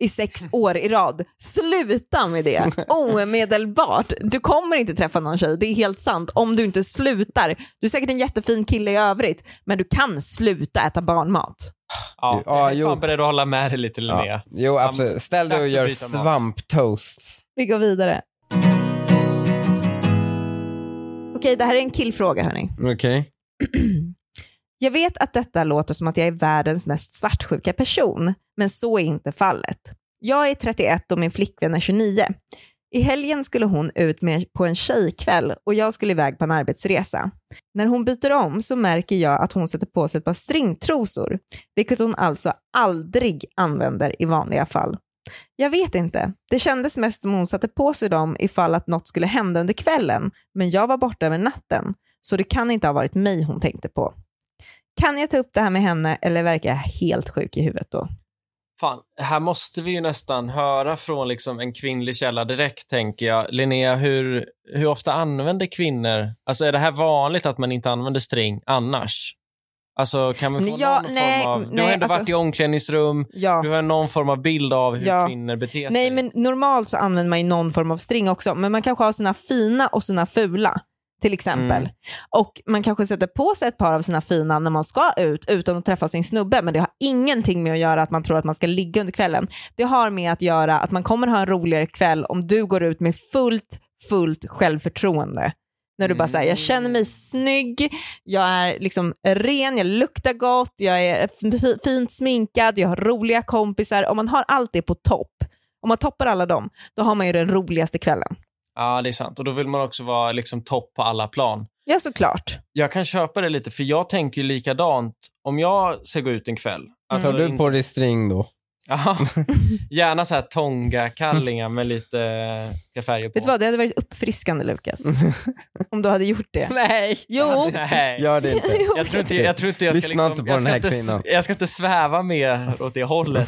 A: i sex år i rad. Sluta med det omedelbart. Du kommer inte träffa någon tjej, det är helt sant, om du inte slutar. Du är säkert en jättefin kille i övrigt, men du kan sluta äta barnmat.
C: Ja,
B: Ja,
C: jag är
B: jo.
C: fan beredd att hålla med dig lite Linnea.
B: Ja. Jo, absolut. Ställ dig och
C: Dags att
B: gör
C: byta mat.
B: svamptoasts.
A: Vi går vidare. Okej, det här är en killfråga hörni.
B: Okej.
A: [clears throat] Jag vet att detta låter som att jag är världens mest svartsjuka person, men så är inte fallet. Jag är 31 och min flickvän är 29. I helgen skulle hon ut med på en tjejkväll och jag skulle iväg på en arbetsresa. När hon byter om så märker jag att hon sätter på sig ett par stringtrosor, vilket hon alltså aldrig använder i vanliga fall. Jag vet inte, det kändes mest som hon satte på sig dem ifall att något skulle hända under kvällen, men jag var borta över natten, så det kan inte ha varit mig hon tänkte på. Kan jag ta upp det här med henne eller verkar jag helt sjuk i huvudet då?
C: Fan, här måste vi ju nästan höra från liksom en kvinnlig källa direkt, tänker jag. Linnea, hur, hur ofta använder kvinnor... Alltså är det här vanligt att man inte använder string annars? Alltså kan vi få
A: Ja,
C: någon
A: nej,
C: form av... Du har
A: nej,
C: ändå
A: alltså-
C: varit i omklädningsrum,
A: Ja.
C: du har någon form av bild av hur
A: Ja.
C: kvinnor beter
A: Nej
C: sig.
A: men normalt så använder man ju någon form av string också, men man kanske har sina fina och sina fula till exempel.
C: Mm.
A: Och man kanske sätter på sig ett par av sina fina när man ska ut utan att träffa sin snubbe, men det har ingenting med att göra att man tror att man ska ligga under kvällen. Det har med att göra att man kommer ha en roligare kväll om du går ut med fullt, fullt självförtroende. När du bara säger jag känner mig snygg, jag är liksom ren, jag luktar gott, jag är f- fint sminkad, jag har roliga kompisar. Om man har allt det på topp, om man toppar alla dem, då har man ju den roligaste kvällen.
C: Ja, det är sant. Och då vill man också vara liksom topp på alla plan.
A: Ja, såklart.
C: Jag kan köpa det lite, för jag tänker ju likadant om jag ska gå ut en kväll. Alltså,
B: Mm. Tar du
C: inte-
B: på dig string då? [laughs]
C: Ja, gärna så här tonga-kallingar med lite eh, färger på.
A: Vet du vad, det hade varit uppfriskande Lukas. om du hade gjort det.
B: Nej!
A: Jo.
C: Nej.
B: Gör det inte.
A: [laughs] Jo.
C: Jag tror inte jag, tror inte jag ska
B: Lyssna
C: liksom,
B: inte på
C: jag
B: den här
C: ska
B: kvinnan.
C: inte, jag ska inte sväva mer åt det
B: [laughs]
C: hållet.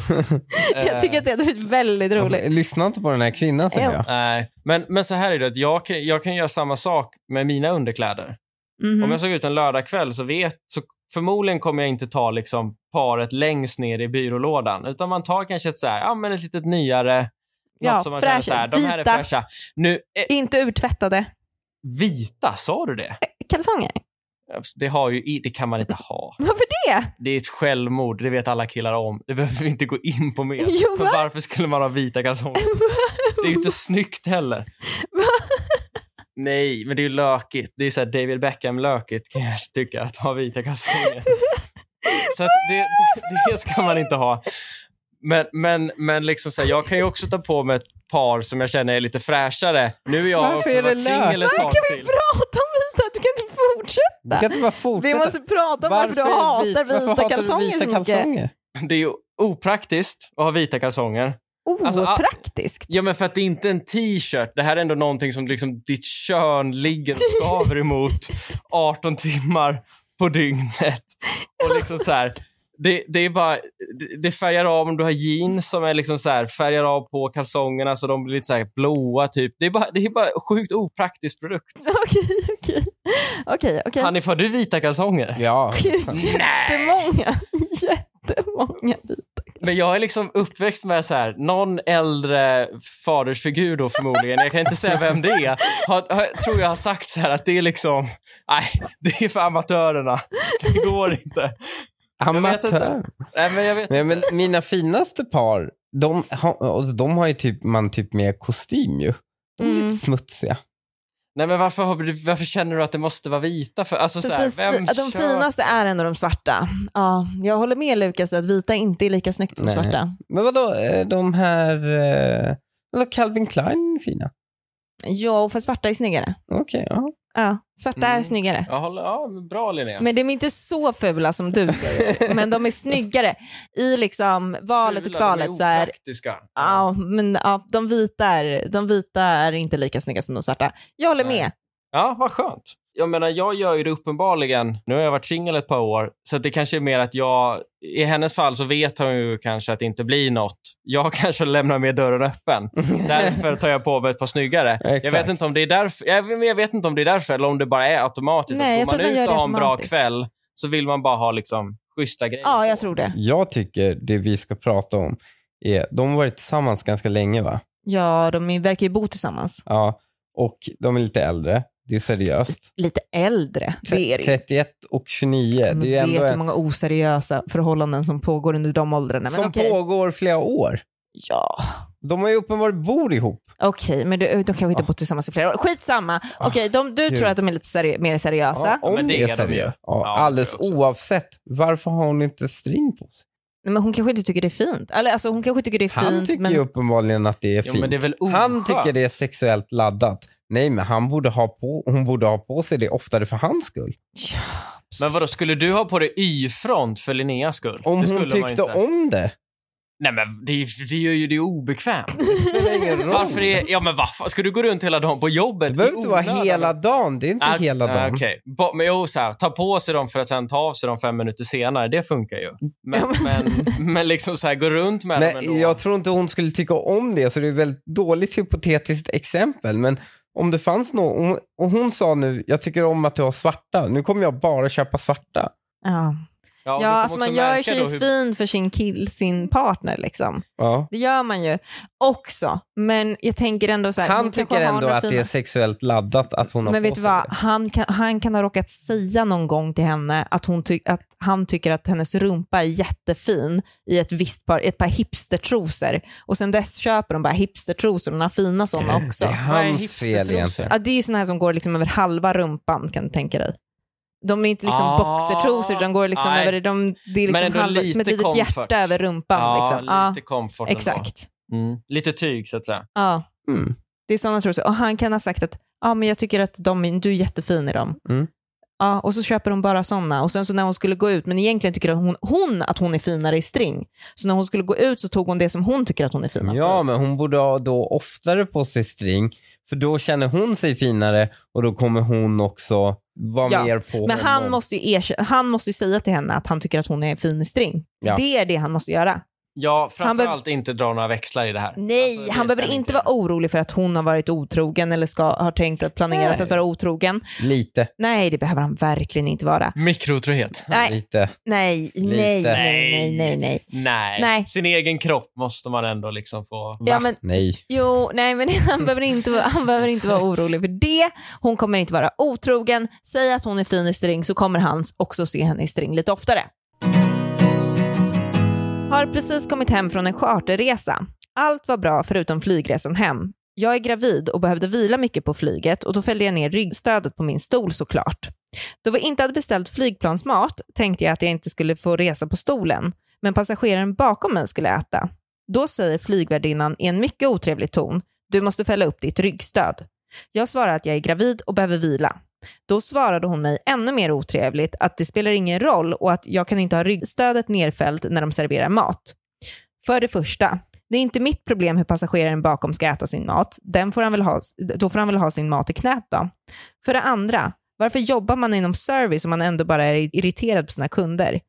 A: jag
C: eh,
A: tycker att det hade varit väldigt roligt.
B: Lyssna inte på den här kvinnan säger
A: Jo.
B: jag.
C: Nej, men, men så här är det, att jag kan, jag kan göra samma sak med mina underkläder. Om
A: Mhm.
C: jag såg ut en lördagkväll så vet, så förmodligen kommer jag inte ta liksom paret längst ner i byrålådan, utan man tar kanske ett så här, ja men ett litet nyare,
A: Ja,
C: något som man känner så här,
A: fräscha,
C: de här är
A: vita.
C: fräscha. Nu, eh,
A: Inte urtvättade
C: vita, sa du det?
A: kalsonger.
C: Det, har ju, i- det kan man inte ha.
A: Varför det?
C: Det är ett självmord, det vet alla killar om. Det behöver vi inte gå in på mer.
A: Jo,
C: För
A: va?
C: varför skulle man ha vita kalsonger? Det är ju inte snyggt heller. Nej, men det är ju lökigt. Det är så här David Beckham-lökigt kan jag tycka, att ha vita kalsonger. Så att det, det, det ska man inte ha. Men, men, men liksom så här, jag kan ju också ta på mig ett par som jag känner är lite fräschare. Nu är jag
B: Varför
C: också
B: är det
C: varit singel ett
A: Vad
C: tag
A: kan vi
C: till.
A: prata om vita? Du kan inte
B: Du kan
A: fortsätta.
B: inte bara
A: Vi
B: fortsätta.
A: måste prata om varför, du
B: är
A: hatar
B: vit-
A: vita,
B: varför hatar du
A: kalsonger
B: vita
A: så mycket.
B: kalsonger?
C: Det är ju opraktiskt att ha vita kalsonger.
A: Oh,
C: Alltså, ah-
A: Opraktiskt.
C: Ja, men för att det är inte en t-shirt. Det här är ändå någonting som liksom ditt kön ligger och skaver emot 18 timmar på dygnet. Och liksom så här, det, det är bara, det, det färgar av om du har jeans som är liksom så här, färgar av på kalsongerna så de blir lite så här blåa typ. Det är bara, det är bara sjukt opraktisk produkt.
A: [laughs] Okej, okej. Okej, okej.
C: Hanif, har du vita kalsonger?
B: [laughs] Ja.
A: [laughs] Jättemånga, [laughs] jättemånga vita.
C: Men jag är liksom uppväxt med så här, någon äldre fadersfigur då förmodligen, jag kan inte säga vem det är, har, har, tror jag har sagt så här att det är liksom, nej, det är för amatörerna. Det går inte. vet inte.
B: Amatör.
C: Nej, men jag vet
B: Nej, men mina finaste par, de har, och de har ju typ, man typ med kostym ju. De är
A: Mm.
B: lite smutsiga.
C: Nej, men varför, har du, varför känner du att det måste vara vita? För, alltså, så
A: Precis,
C: här, vem
A: de
C: kör-
A: finaste är ändå de svarta. Ja, jag håller med Lukas att vita inte är lika snyggt som
B: Nej.
A: svarta.
B: Men vadå, eh, de här... eh, Vadå, Calvin Klein är fina?
A: Jo, för svarta är snyggare.
B: Okej, ja.
A: Ja, svarta är
C: Mm.
A: snyggare.
C: Jag håller, ja, men bra Linnea.
A: Men de är inte så fula som du
B: [laughs]
A: säger, men de är snyggare. I liksom valet och
C: Fula, de
A: kvalet så är
C: opraktiska.
A: Ja, men ja, de, vita är, de vita är inte lika snygga som de svarta. Jag håller
C: Nej.
A: med.
C: Ja, vad skönt. Jag menar, jag gör ju det uppenbarligen. Nu har jag varit singel ett par år, så att det kanske är mer att jag... I hennes fall så vet hon ju kanske att det inte blir något. Jag [laughs] kanske lämnar med dörren öppen. Därför tar jag på mig ett par snyggare. Jag vet
B: Exakt.
C: inte om det är därför, jag, men jag vet inte om det är därför eller om det bara är automatiskt.
A: Nej, jag
C: att går
A: tror man
C: man
A: gör
C: ut
A: det
C: och har en bra
A: automatiskt.
C: kväll så vill man bara ha liksom schyssta grejer.
A: Ja, jag tror det.
B: Jag tycker det vi ska prata om är, de har varit tillsammans ganska länge va?
A: Ja, de är- verkar ju bo tillsammans.
B: Ja. Och de är lite äldre. Det är seriöst.
A: Lite äldre, det är det ju.
B: 31 och 29.
A: Man
B: Det är ändå
A: vet hur
B: en,
A: många oseriösa förhållanden som pågår under de åldrarna. Men
B: som
A: okej.
B: pågår flera år.
A: Ja,
B: De har ju uppenbarligen bor ihop.
A: okej, men de, de kanske inte bott tillsammans i flera år. Skitsamma. Okej, de, du
B: Ah, gud.
A: tror att de är lite seri mer seriösa.
B: Ja, om
C: men det
B: det
C: är
B: är
C: de ju.
B: seriöst. Ja,
C: Ja, det
B: alldeles
C: tror jag
B: oavsett. Varför har hon inte string på sig?
A: Nej, Men hon kanske inte tycker det är fint. Eller alltså, hon kanske tycker det är
B: Han
A: fint,
B: tycker
A: men...
B: ju uppenbarligen att det är
C: Jo,
B: fint.
C: men det är väl
B: han
C: oskönt.
B: tycker det är sexuellt laddat. Nej, men han borde ha på, hon borde ha på sig det oftare för hans skull.
C: Men vadå, skulle du ha på dig Y-front för Linneas skull?
B: Om
C: det skulle
B: hon
C: man
B: tyckte
C: inte.
B: om det.
C: Nej, men det, det gör ju det obekvämt.
B: Det spelar ingen roll.
C: Varför är, ja men varför, ska du gå runt hela dagen på jobbet?
B: Det behöver inte vara hela dagen. Det är inte hela dagen.
C: Ah, Okej, Ba- men jo, så här, ta på sig dem för att sen ta av sig dem fem minuter senare, det funkar ju. Men, men, men liksom så här, gå runt med dem ändå.
B: Nej, jag tror inte hon skulle tycka om det, så det är ett väldigt dåligt hypotetiskt exempel. Men om det fanns någon, och hon sa nu, jag tycker om att du har svarta, nu kommer jag bara köpa svarta.
A: Ja,
C: ja,
A: ja,
C: du kommer
A: alltså
C: också
A: man gör
C: märka
A: sig
C: då hur-
A: fin för sin kill, sin partner liksom.
B: Ja.
A: Det gör man ju också, men jag tänker ändå så här.
B: Han
A: hon kanske
B: tycker
A: har
B: ändå
A: några
B: att det
A: fina-
B: är sexuellt laddat att hon har
A: Men
B: på
A: vet du
B: sig
A: vad,
B: det.
A: han kan, han kan ha råkat säga någon gång till henne att, hon ty- att han tycker att hennes rumpa är jättefin i ett visst par, ett par hipstertrosor. Och sen dess köper de bara hipstertrosor, några fina sådana också.
B: Det är
C: Vad är
B: hans fel
C: hipstertrosor?
B: egentligen.
A: Ja, det är ju sådana här som går liksom över halva rumpan kan du tänka dig. De är inte liksom
C: Ah,
A: boxertrosor, de går liksom
C: nej.
A: över, de, det är
C: Men
A: liksom
C: ändå
A: halva,
C: lite
A: som ett litet
C: comfort.
A: hjärta över rumpan.
C: Ja,
A: liksom. ja,
C: lite comfort ändå.
A: exakt.
C: Mm. Lite tyg, så att säga.
A: Ja.
B: Mm.
A: Det är sådana trosor. Och han kan ha sagt att ja men jag tycker att de, du är jättefin i dem.
B: Mm.
A: Ja, och så köper hon bara sådana. Och sen så när hon skulle gå ut, men egentligen tycker hon, hon att hon är finare i string. Så när hon skulle gå ut så tog hon det som hon tycker att hon är finast i.
B: Ja, men hon borde ha då oftare på sig string, för då känner hon sig finare och då kommer hon också vara
A: Ja,
B: mer på
A: Men han
B: honom.
A: måste, ju erkänna, han måste ju säga till henne att han tycker att hon är fin i string.
B: Ja.
A: Det är det han måste göra.
C: Ja,
A: behöv-
C: framförallt inte dra några växlar i det här.
A: Nej,
C: Alltså, det
A: han behöver
C: stämmer
A: inte vara orolig för att hon har varit otrogen eller ska, har tänkt att planerat
B: Nej.
A: att vara otrogen.
B: Lite,
A: Nej, det behöver han verkligen inte vara.
C: Mikrotrohet.
A: Nej,
B: lite.
A: nej,
B: Lite.
A: nej, nej, nej, nej, nej.
C: Nej.
A: Nej.
C: Sin egen kropp måste man ändå liksom få...
A: Ja, men,
B: Nej.
A: jo, nej, men [laughs] han behöver, inte, vara- han behöver inte vara orolig för det. Hon kommer inte vara otrogen. Säg att hon är fin i string så kommer han också se henne i string lite oftare. Har precis kommit hem från en charterresa. Allt var bra förutom flygresan hem. Jag är gravid och behövde vila mycket på flyget och då fällde jag ner ryggstödet på min stol såklart. Då vi inte hade beställt flygplansmat tänkte jag att jag inte skulle få resa på stolen, men passageraren bakom mig skulle äta. Då säger flygvärdinnan i en mycket otrevlig ton, du måste fälla upp ditt ryggstöd. Jag svarar att jag är gravid och behöver vila. Då svarade hon mig ännu mer otrevligt att det spelar ingen roll och att jag kan inte ha ryggstödet nerfällt när de serverar mat. För det första, det är inte mitt problem hur passageraren bakom ska äta sin mat. Den får han väl ha, då får han väl ha sin mat i knät då. För det andra, varför jobbar man inom service om man ändå bara är irriterad på sina kunder?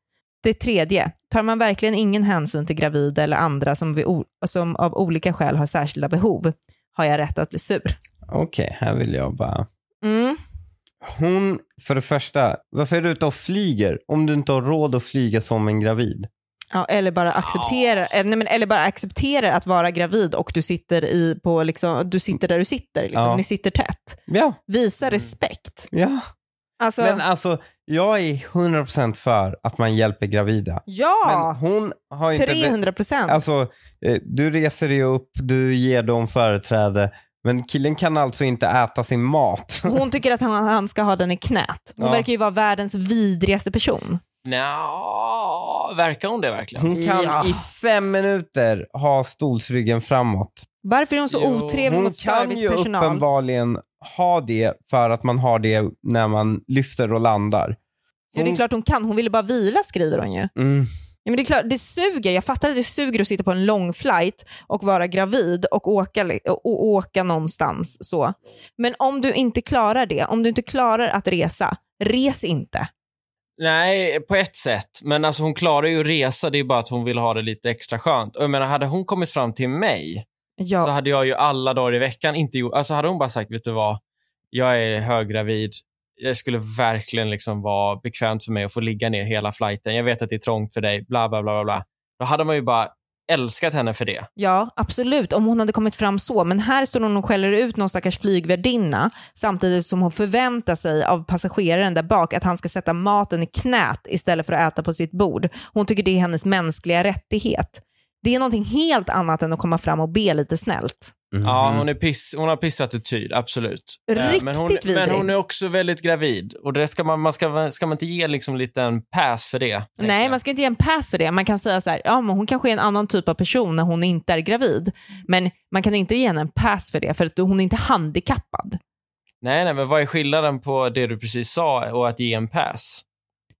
A: Det tredje, tar man verkligen ingen hänsyn till gravida eller andra som, vid, o- som av olika skäl har särskilda behov? Har jag rätt att bli sur?
B: Okej, här vill jag bara...
A: Mm.
B: Hon, för det första, varför är du ute och flyger om du inte har råd att flyga som en gravid?
A: Ja, eller, bara acceptera, eh, nej, men, eller bara acceptera att vara gravid och du sitter, i, på, liksom, du sitter där du sitter. Liksom.
B: Ja.
A: Ni sitter tätt.
B: Ja,
A: Visa respekt.
B: ja.
A: Alltså,
B: Men alltså, jag är 100% för att man hjälper gravida. Men
A: ja,
B: hon har inte... be-
A: 300 procent.
B: Alltså, eh, du reser dig upp, du ger dem företräde, men killen kan alltså inte äta sin mat.
A: Hon tycker att han, han ska ha den i knät. Hon
B: Ja.
A: verkar ju vara världens vidrigaste person.
C: Nja, verkar hon det verkligen?
B: Hon kan
A: Ja.
B: i fem minuter ha stolsryggen framåt.
A: Varför är hon så
C: Jo.
A: otrevlig
B: Hon
A: mot
B: kan ju
A: servicepersonal?
B: uppenbarligen ha det för att man har det när man lyfter och landar.
A: Ja, det är
B: Hon-
A: klart hon kan. Hon ville bara vila skriver hon ju.
B: Mm.
A: Ja, men det, är klart, det suger. Jag fattar att det suger att sitta på en lång flight och vara gravid och åka, li- och, och åka någonstans. Så. Men om du inte klarar det, om du inte klarar att resa, res inte.
C: Nej, på ett sätt. Men alltså, hon klarar ju att resa, det är bara att hon vill ha det lite extra skönt. Och jag menar, hade hon kommit fram till mig så
A: Ja,
C: hade jag ju alla dagar i veckan inte gjort... Alltså hade hon bara sagt, vet du vad, jag är höggravid. Det skulle verkligen liksom vara bekvämt för mig att få ligga ner hela flighten. Jag vet att det är trångt för dig, bla, bla, bla, bla, bla. Då hade man ju bara älskat henne för det.
A: ja, absolut. Om hon hade kommit fram så. Men här står hon och skäller ut någon stackars flygvärdinna samtidigt som hon förväntar sig av passageraren där bak att han ska sätta maten i knät istället för att äta på sitt bord. Hon tycker det är hennes mänskliga rättighet. Det är någonting helt annat än att komma fram och be lite snällt.
B: Mhm.
C: Ja, hon, är piss, hon har pissattityd, absolut. Eh, men, hon,
A: Riktigt vidrig.
C: men hon är också väldigt gravid. Och det ska man, man ska, ska man inte ge liksom en liten pass för det? tänker
A: Nej,
C: jag.
A: man ska inte ge en pass för det. Man kan säga så här, ja men hon kanske är en annan typ av person när hon inte är gravid. Men man kan inte ge henne en pass för det för att hon är inte handikappad.
C: Nej, nej, men vad är skillnaden på det du precis sa och att ge en pass?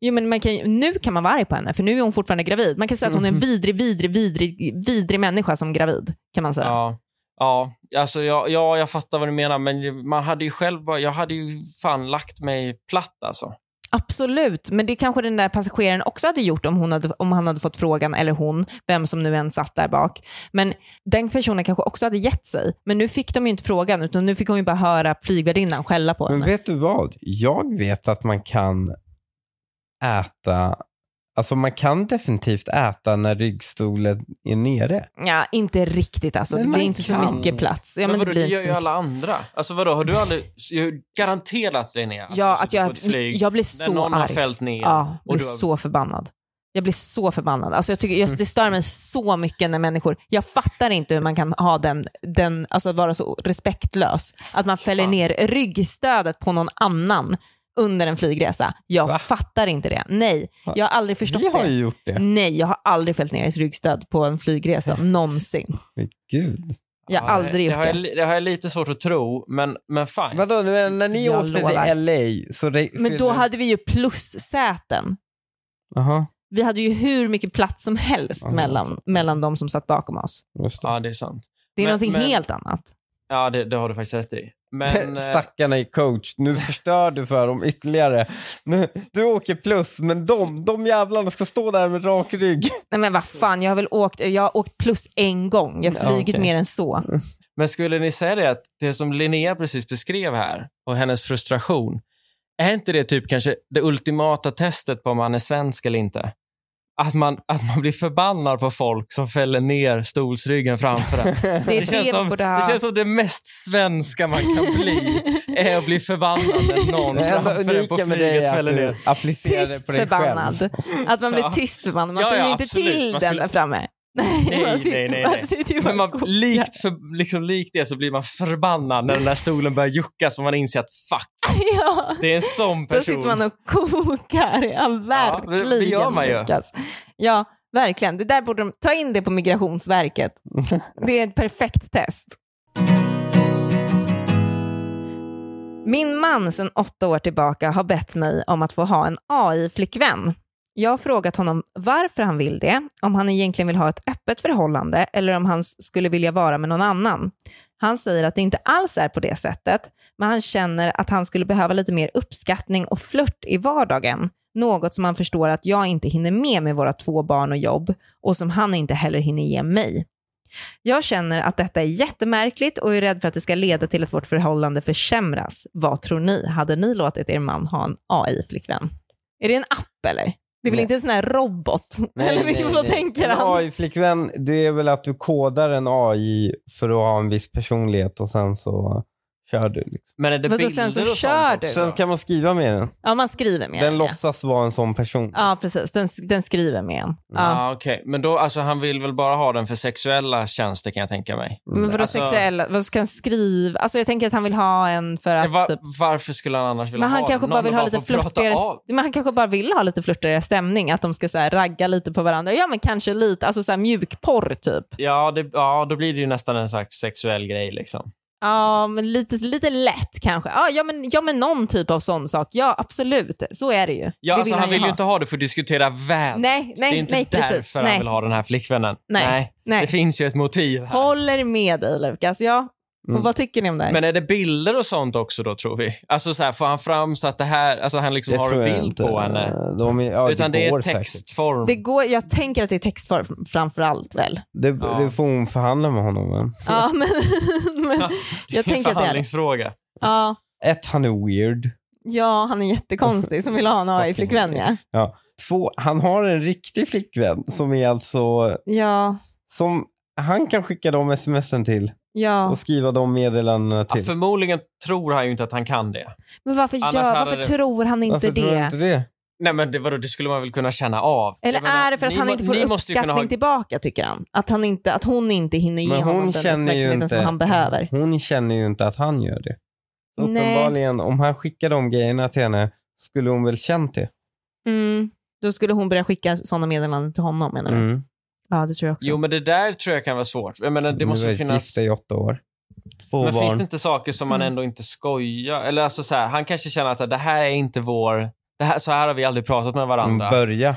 A: Jo, men man kan, ju- nu kan man vara arg på henne för nu är hon fortfarande gravid. Man kan säga att
C: [laughs]
A: hon är en vidrig, vidrig, vidrig, vidrig människa som gravid. Kan man säga.
C: Ja, ja, alltså, ja, ja jag fattar vad du menar, men man hade ju själv bara, jag hade ju fan lagt mig platt alltså.
A: Absolut, men det kanske den där passageraren också hade gjort om, hon hade, om han hade fått frågan, eller hon, vem som nu än satt där bak. Men den personen kanske också hade gett sig. Men nu fick de ju inte frågan utan nu fick hon ju bara höra flygvärdinnan skälla på
B: Men
A: henne.
B: vet du vad? Jag vet att man kan äta, alltså man kan definitivt äta när ryggstolen är nere.
A: Ja, inte riktigt alltså.
B: Men
A: det
B: man
A: blir inte så
B: kan.
A: mycket plats. Ja, men
C: men vadå,
A: det
C: det
A: blir
C: gör
A: inte så
C: ju
A: mycket.
C: alla andra. Alltså vadå, har du aldrig jag har garanterat dig ner?
A: Ja, att jag,
C: flyg,
A: jag blir
C: när
A: så
C: någon har
A: arg.
C: fällt ner.
A: Ja, jag
C: och
A: blir
C: du har-
A: så förbannad. Jag blir så förbannad. Alltså jag tycker, jag, det stör mig så mycket när människor... Jag fattar inte hur man kan ha den, den alltså att vara så respektlös. Att man fäller
C: Fan.
A: ner ryggstödet på någon annan under en flygresa. Jag
B: Va?
A: fattar inte det. Nej,
B: Va?
A: jag har aldrig förstått
B: Vi har
A: det. Mm.
B: ju gjort det.
A: Nej, jag har aldrig fällt ner ett ryggstöd på en flygresa, någonsin.
B: Men gud.
A: Jag har aldrig
C: det
A: gjort
C: har jag,
A: det.
C: li- det har jag lite svårt att tro, men, men fine.
B: Vadå, nu är- när ni
A: Jag
B: åkte
A: lovar.
B: till LA så... re-
A: Men då
B: fyllde-
A: hade vi ju plussäten.
B: Jaha,
A: Vi hade ju hur mycket plats som helst
B: Ja.
A: mellan, mellan de som satt bakom oss.
B: just det.
C: Ja, det är sant.
A: Det är
C: Men-
A: någonting
C: men-
A: helt annat.
C: Ja, det, det har du faktiskt rätt i.
B: [laughs]
A: [laughs]
C: Men, eh,
B: Stackarna i coach, nu förstör du för dem ytterligare. Nu, du åker plus, men de, de jävlarna ska stå där med rak rygg.
A: Nej men vad fan, jag har väl åkt, jag har åkt plus en gång. Jag har
B: Ja,
A: flugit
B: okej.
A: mer än
C: [laughs]
A: så.
C: men skulle ni säga det att det som Linnea precis beskrev här och hennes frustration, är inte det typ kanske det ultimata testet på om man är svensk eller inte? Att man, att man blir förbannad på folk som fäller ner stolsryggen framför en.
A: Det är
C: Det
A: det,
C: känns,
A: vi
C: som,
A: borde
C: det
A: ha.
C: känns som det mest svenska man kan bli, är att bli förbannad när någon
B: Det enda
C: framför en på
B: unika med dig
C: flyget
B: är att
C: fäller ner.
B: du applicerar det
A: Tyst
B: på dig själv.
A: förbannad. Att man blir
C: Ja.
A: tyst förbannad. Man
C: Ja,
A: säger
C: ja,
A: ju inte
C: absolut.
A: till
C: Man
A: den
C: skulle-
A: där framme. [laughs] Nej,
C: Nej,
A: man sitter-
C: nej, nej, nej.
A: Man sitter ju bara [laughs]
C: Men man,
A: och kokar.
C: likt, för, liksom, likt det så blir man förbannad när den där stolen börjar jucka så man inser att fuck,
A: Ja.
C: det är en sån
A: Då
C: person.
A: sitter man och kokar. Ja, verkligen.
C: det gör man ju.
A: Lukas. Ja, verkligen. Det där borde de ta in det på
C: [laughs]
A: Migrationsverket. Det är ett perfekt test. Min man sedan åtta år tillbaka har bett mig om att få ha en AI-flickvän. Jag har frågat honom varför han vill det, om han egentligen vill ha ett öppet förhållande eller om han s- skulle vilja vara med någon annan. Han säger att det inte alls är på det sättet, men han känner att han skulle behöva lite mer uppskattning och flört i vardagen. Något som han förstår att jag inte hinner med med våra två barn och jobb och som han inte heller hinner ge mig. Jag känner att detta är jättemärkligt och är rädd för att det ska leda till att vårt förhållande försämras. Vad tror ni? Hade ni låtit er man ha en AI-flickvän? Är det en app eller? Det är väl
B: Nej.
A: inte en sån här robot? eller [laughs] vad tänker
B: en
A: han?
B: AI-flickvän, det är väl att du kodar en AI för att ha en viss personlighet och sen så kör du. Liksom.
C: Men är det
A: Vadå,
C: bilder
A: sen så
C: och sånt
A: kör du?
C: också?
B: Sen kan man skriva med den.
A: Ja, man skriver med
B: Den
A: ja.
B: låtsas vara en sån person.
A: Ja, precis. Den, den skriver med en. Ja.
C: Ja, okej. Men då, alltså han vill väl bara ha den för sexuella tjänster kan jag tänka mig.
A: Men vadå
C: Alltså-
A: sexuella? Vad ska han skriva? Alltså jag tänker att han vill ha en för att...
C: Eh, Va,
A: typ,
C: varför skulle han annars vilja
A: men han
C: ha
A: kanske
C: den?
A: bara
C: Någon
A: vill
C: att
A: ha lite
C: få prata
A: flörtigare...
C: av.
A: Men han kanske bara vill ha lite flörtigare stämning. Att de ska så här ragga lite på varandra. Ja, men kanske lite. Alltså så här mjukporr typ.
C: Ja, det, ja, då blir det ju nästan en slags sexuell grej liksom.
A: Ja, men lite, lite lätt kanske. Ja, ja, men, ja, men någon typ av sån sak. Ja, absolut. Så är det ju.
C: Ja,
A: det
C: alltså, han vill
A: ha.
C: ju inte ha det för att diskutera väl.
A: Nej,
C: det är
A: nej,
C: inte
A: nej,
C: därför
A: precis.
C: han
A: Nej,
C: vill ha den här flickvännen.
A: Nej.
C: Det
A: nej.
C: finns ju ett motiv här.
A: Håller med dig Lukas. Ja. Och
B: Mm.
A: vad tycker ni om det här?
C: Men är det bilder och sånt också då, tror vi? Alltså så här, får han fram så att det här, alltså han liksom har en bild på henne?
B: De är, ja,
C: Utan det
B: går
C: är
B: Säkert.
C: textform.
A: det går, jag tänker att det är textform framför allt väl.
B: Det,
C: Ja.
B: det får hon förhandla med honom. Men.
A: Ja, men, men [laughs]
C: [laughs]
A: jag
C: är en
A: tänker att det är det.
C: förhandlingsfråga.
A: Ja,
B: Ett, han är weird.
A: ja, han är jättekonstig som vill
B: [laughs]
A: ha en AI-flickvän. Ja.
B: Två, han har en riktig flickvän som är alltså,
A: Ja,
B: som han kan skicka de smsen till
A: ja.
B: och skriva de meddelandena
C: Ja,
B: till.
C: förmodligen tror han ju inte att han kan det.
A: Men varför,
C: Annars
A: gör,
C: hade
A: varför
C: det-
A: tror han inte
B: Varför tror du
A: det?
B: inte det?
C: Nej men det, vadå, det skulle man väl kunna känna av?
A: Eller
C: Jag menar,
A: är det för att
C: ni
A: han
C: må-
A: inte får
C: ni måste ju kunna
A: uppskattning tillbaka, tycker han? Att, han inte, att hon inte hinner ge
B: Men
A: honom
B: hon
A: den
B: känner, ju
A: uppmärksamheten
B: inte,
A: som han behöver?
B: hon känner ju inte att han gör det. Så
A: Nej.
B: uppenbarligen, om han skickar de grejerna till henne skulle hon väl känt det.
A: Mm. Då skulle hon börja skicka sådana meddelanden till honom, menar du?
B: Mm.
A: Ja, det tror jag också.
C: Jo men det där tror jag kan vara svårt. Jag menar, det
B: Nu
C: måste
B: är
C: ju
B: vi
C: finnas...
B: gifta i åtta år. Två
C: Men finns
B: barn.
C: det inte saker som man
A: Mm.
C: ändå inte skojar? Eller alltså så här, han kanske känner att det här är inte vår... Det här, så här har vi aldrig pratat med varandra.
B: Mm, Börja.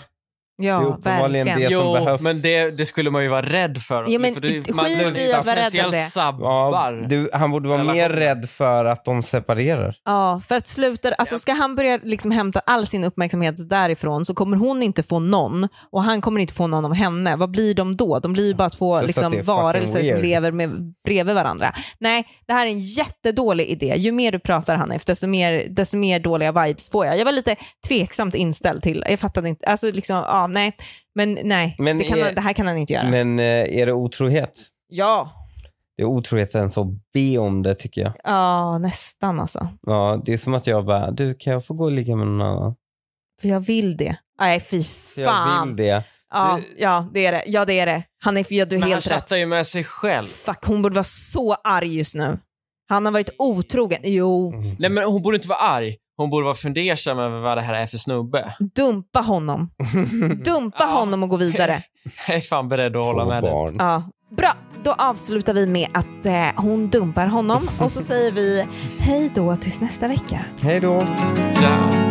B: det är
A: ja,
B: uppenbarligen
A: verkligen.
B: det som
C: jo,
B: behövs.
C: men det, det skulle man ju vara rädd för.
A: Ja, men
C: för det,
A: skit i att
C: det-
A: vara rädd om
C: potentiellt
A: det.
B: Ja,
C: sabbar.
B: du, han borde vara mer
C: Relationen.
B: rädd för att de separerar.
A: Ja, för att sluta, alltså ska han börja liksom hämta all sin uppmärksamhet därifrån så kommer hon inte få någon och han kommer inte få någon av henne. Vad blir de då? De blir ju bara två
B: Plus att det
A: liksom,
B: är
A: varelser
B: fucking
A: som
B: weird.
A: lever med, bredvid varandra. Nej, det här är en jättedålig idé. Ju mer du pratar Hanif, desto mer, desto mer dåliga vibes får jag. Jag var lite tveksamt inställd till, jag fattade inte, alltså liksom, ja nej, men nej,
B: Men
A: det, kan
B: är-
A: han, det här kan han inte göra.
B: Men eh, är det otrohet?
A: Ja,
B: Det är otrohet ens att be om det tycker jag.
A: ja nästan alltså.
B: Ja, det är som att jag bara, du kan jag få gå och ligga med någon annan?
A: För jag vill det. Nej, fy
B: För Jag
A: fan.
B: vill det.
A: Ja,
B: Det-
A: ja, det är det. Ja, det är det. Han är, ja, du är
C: men alltså- han
A: helt rätt.
C: chattar ju med sig själv.
A: Fuck, hon borde vara så arg just nu. Han har varit otrogen. Jo,
C: Nej, men hon borde inte vara arg. Hon borde vara fundersam över vad det här är för snubbe.
A: dumpa
C: [laughs]
A: honom. Dumpa
C: Ja.
A: honom och gå vidare.
C: [laughs] Jag är fan beredd att hålla
B: Två
C: med dig.
B: barn.
A: Ja. Bra, Då avslutar vi med att eh, hon dumpar honom och så säger vi hej då tills nästa vecka.
E: Hej då.
C: Ciao.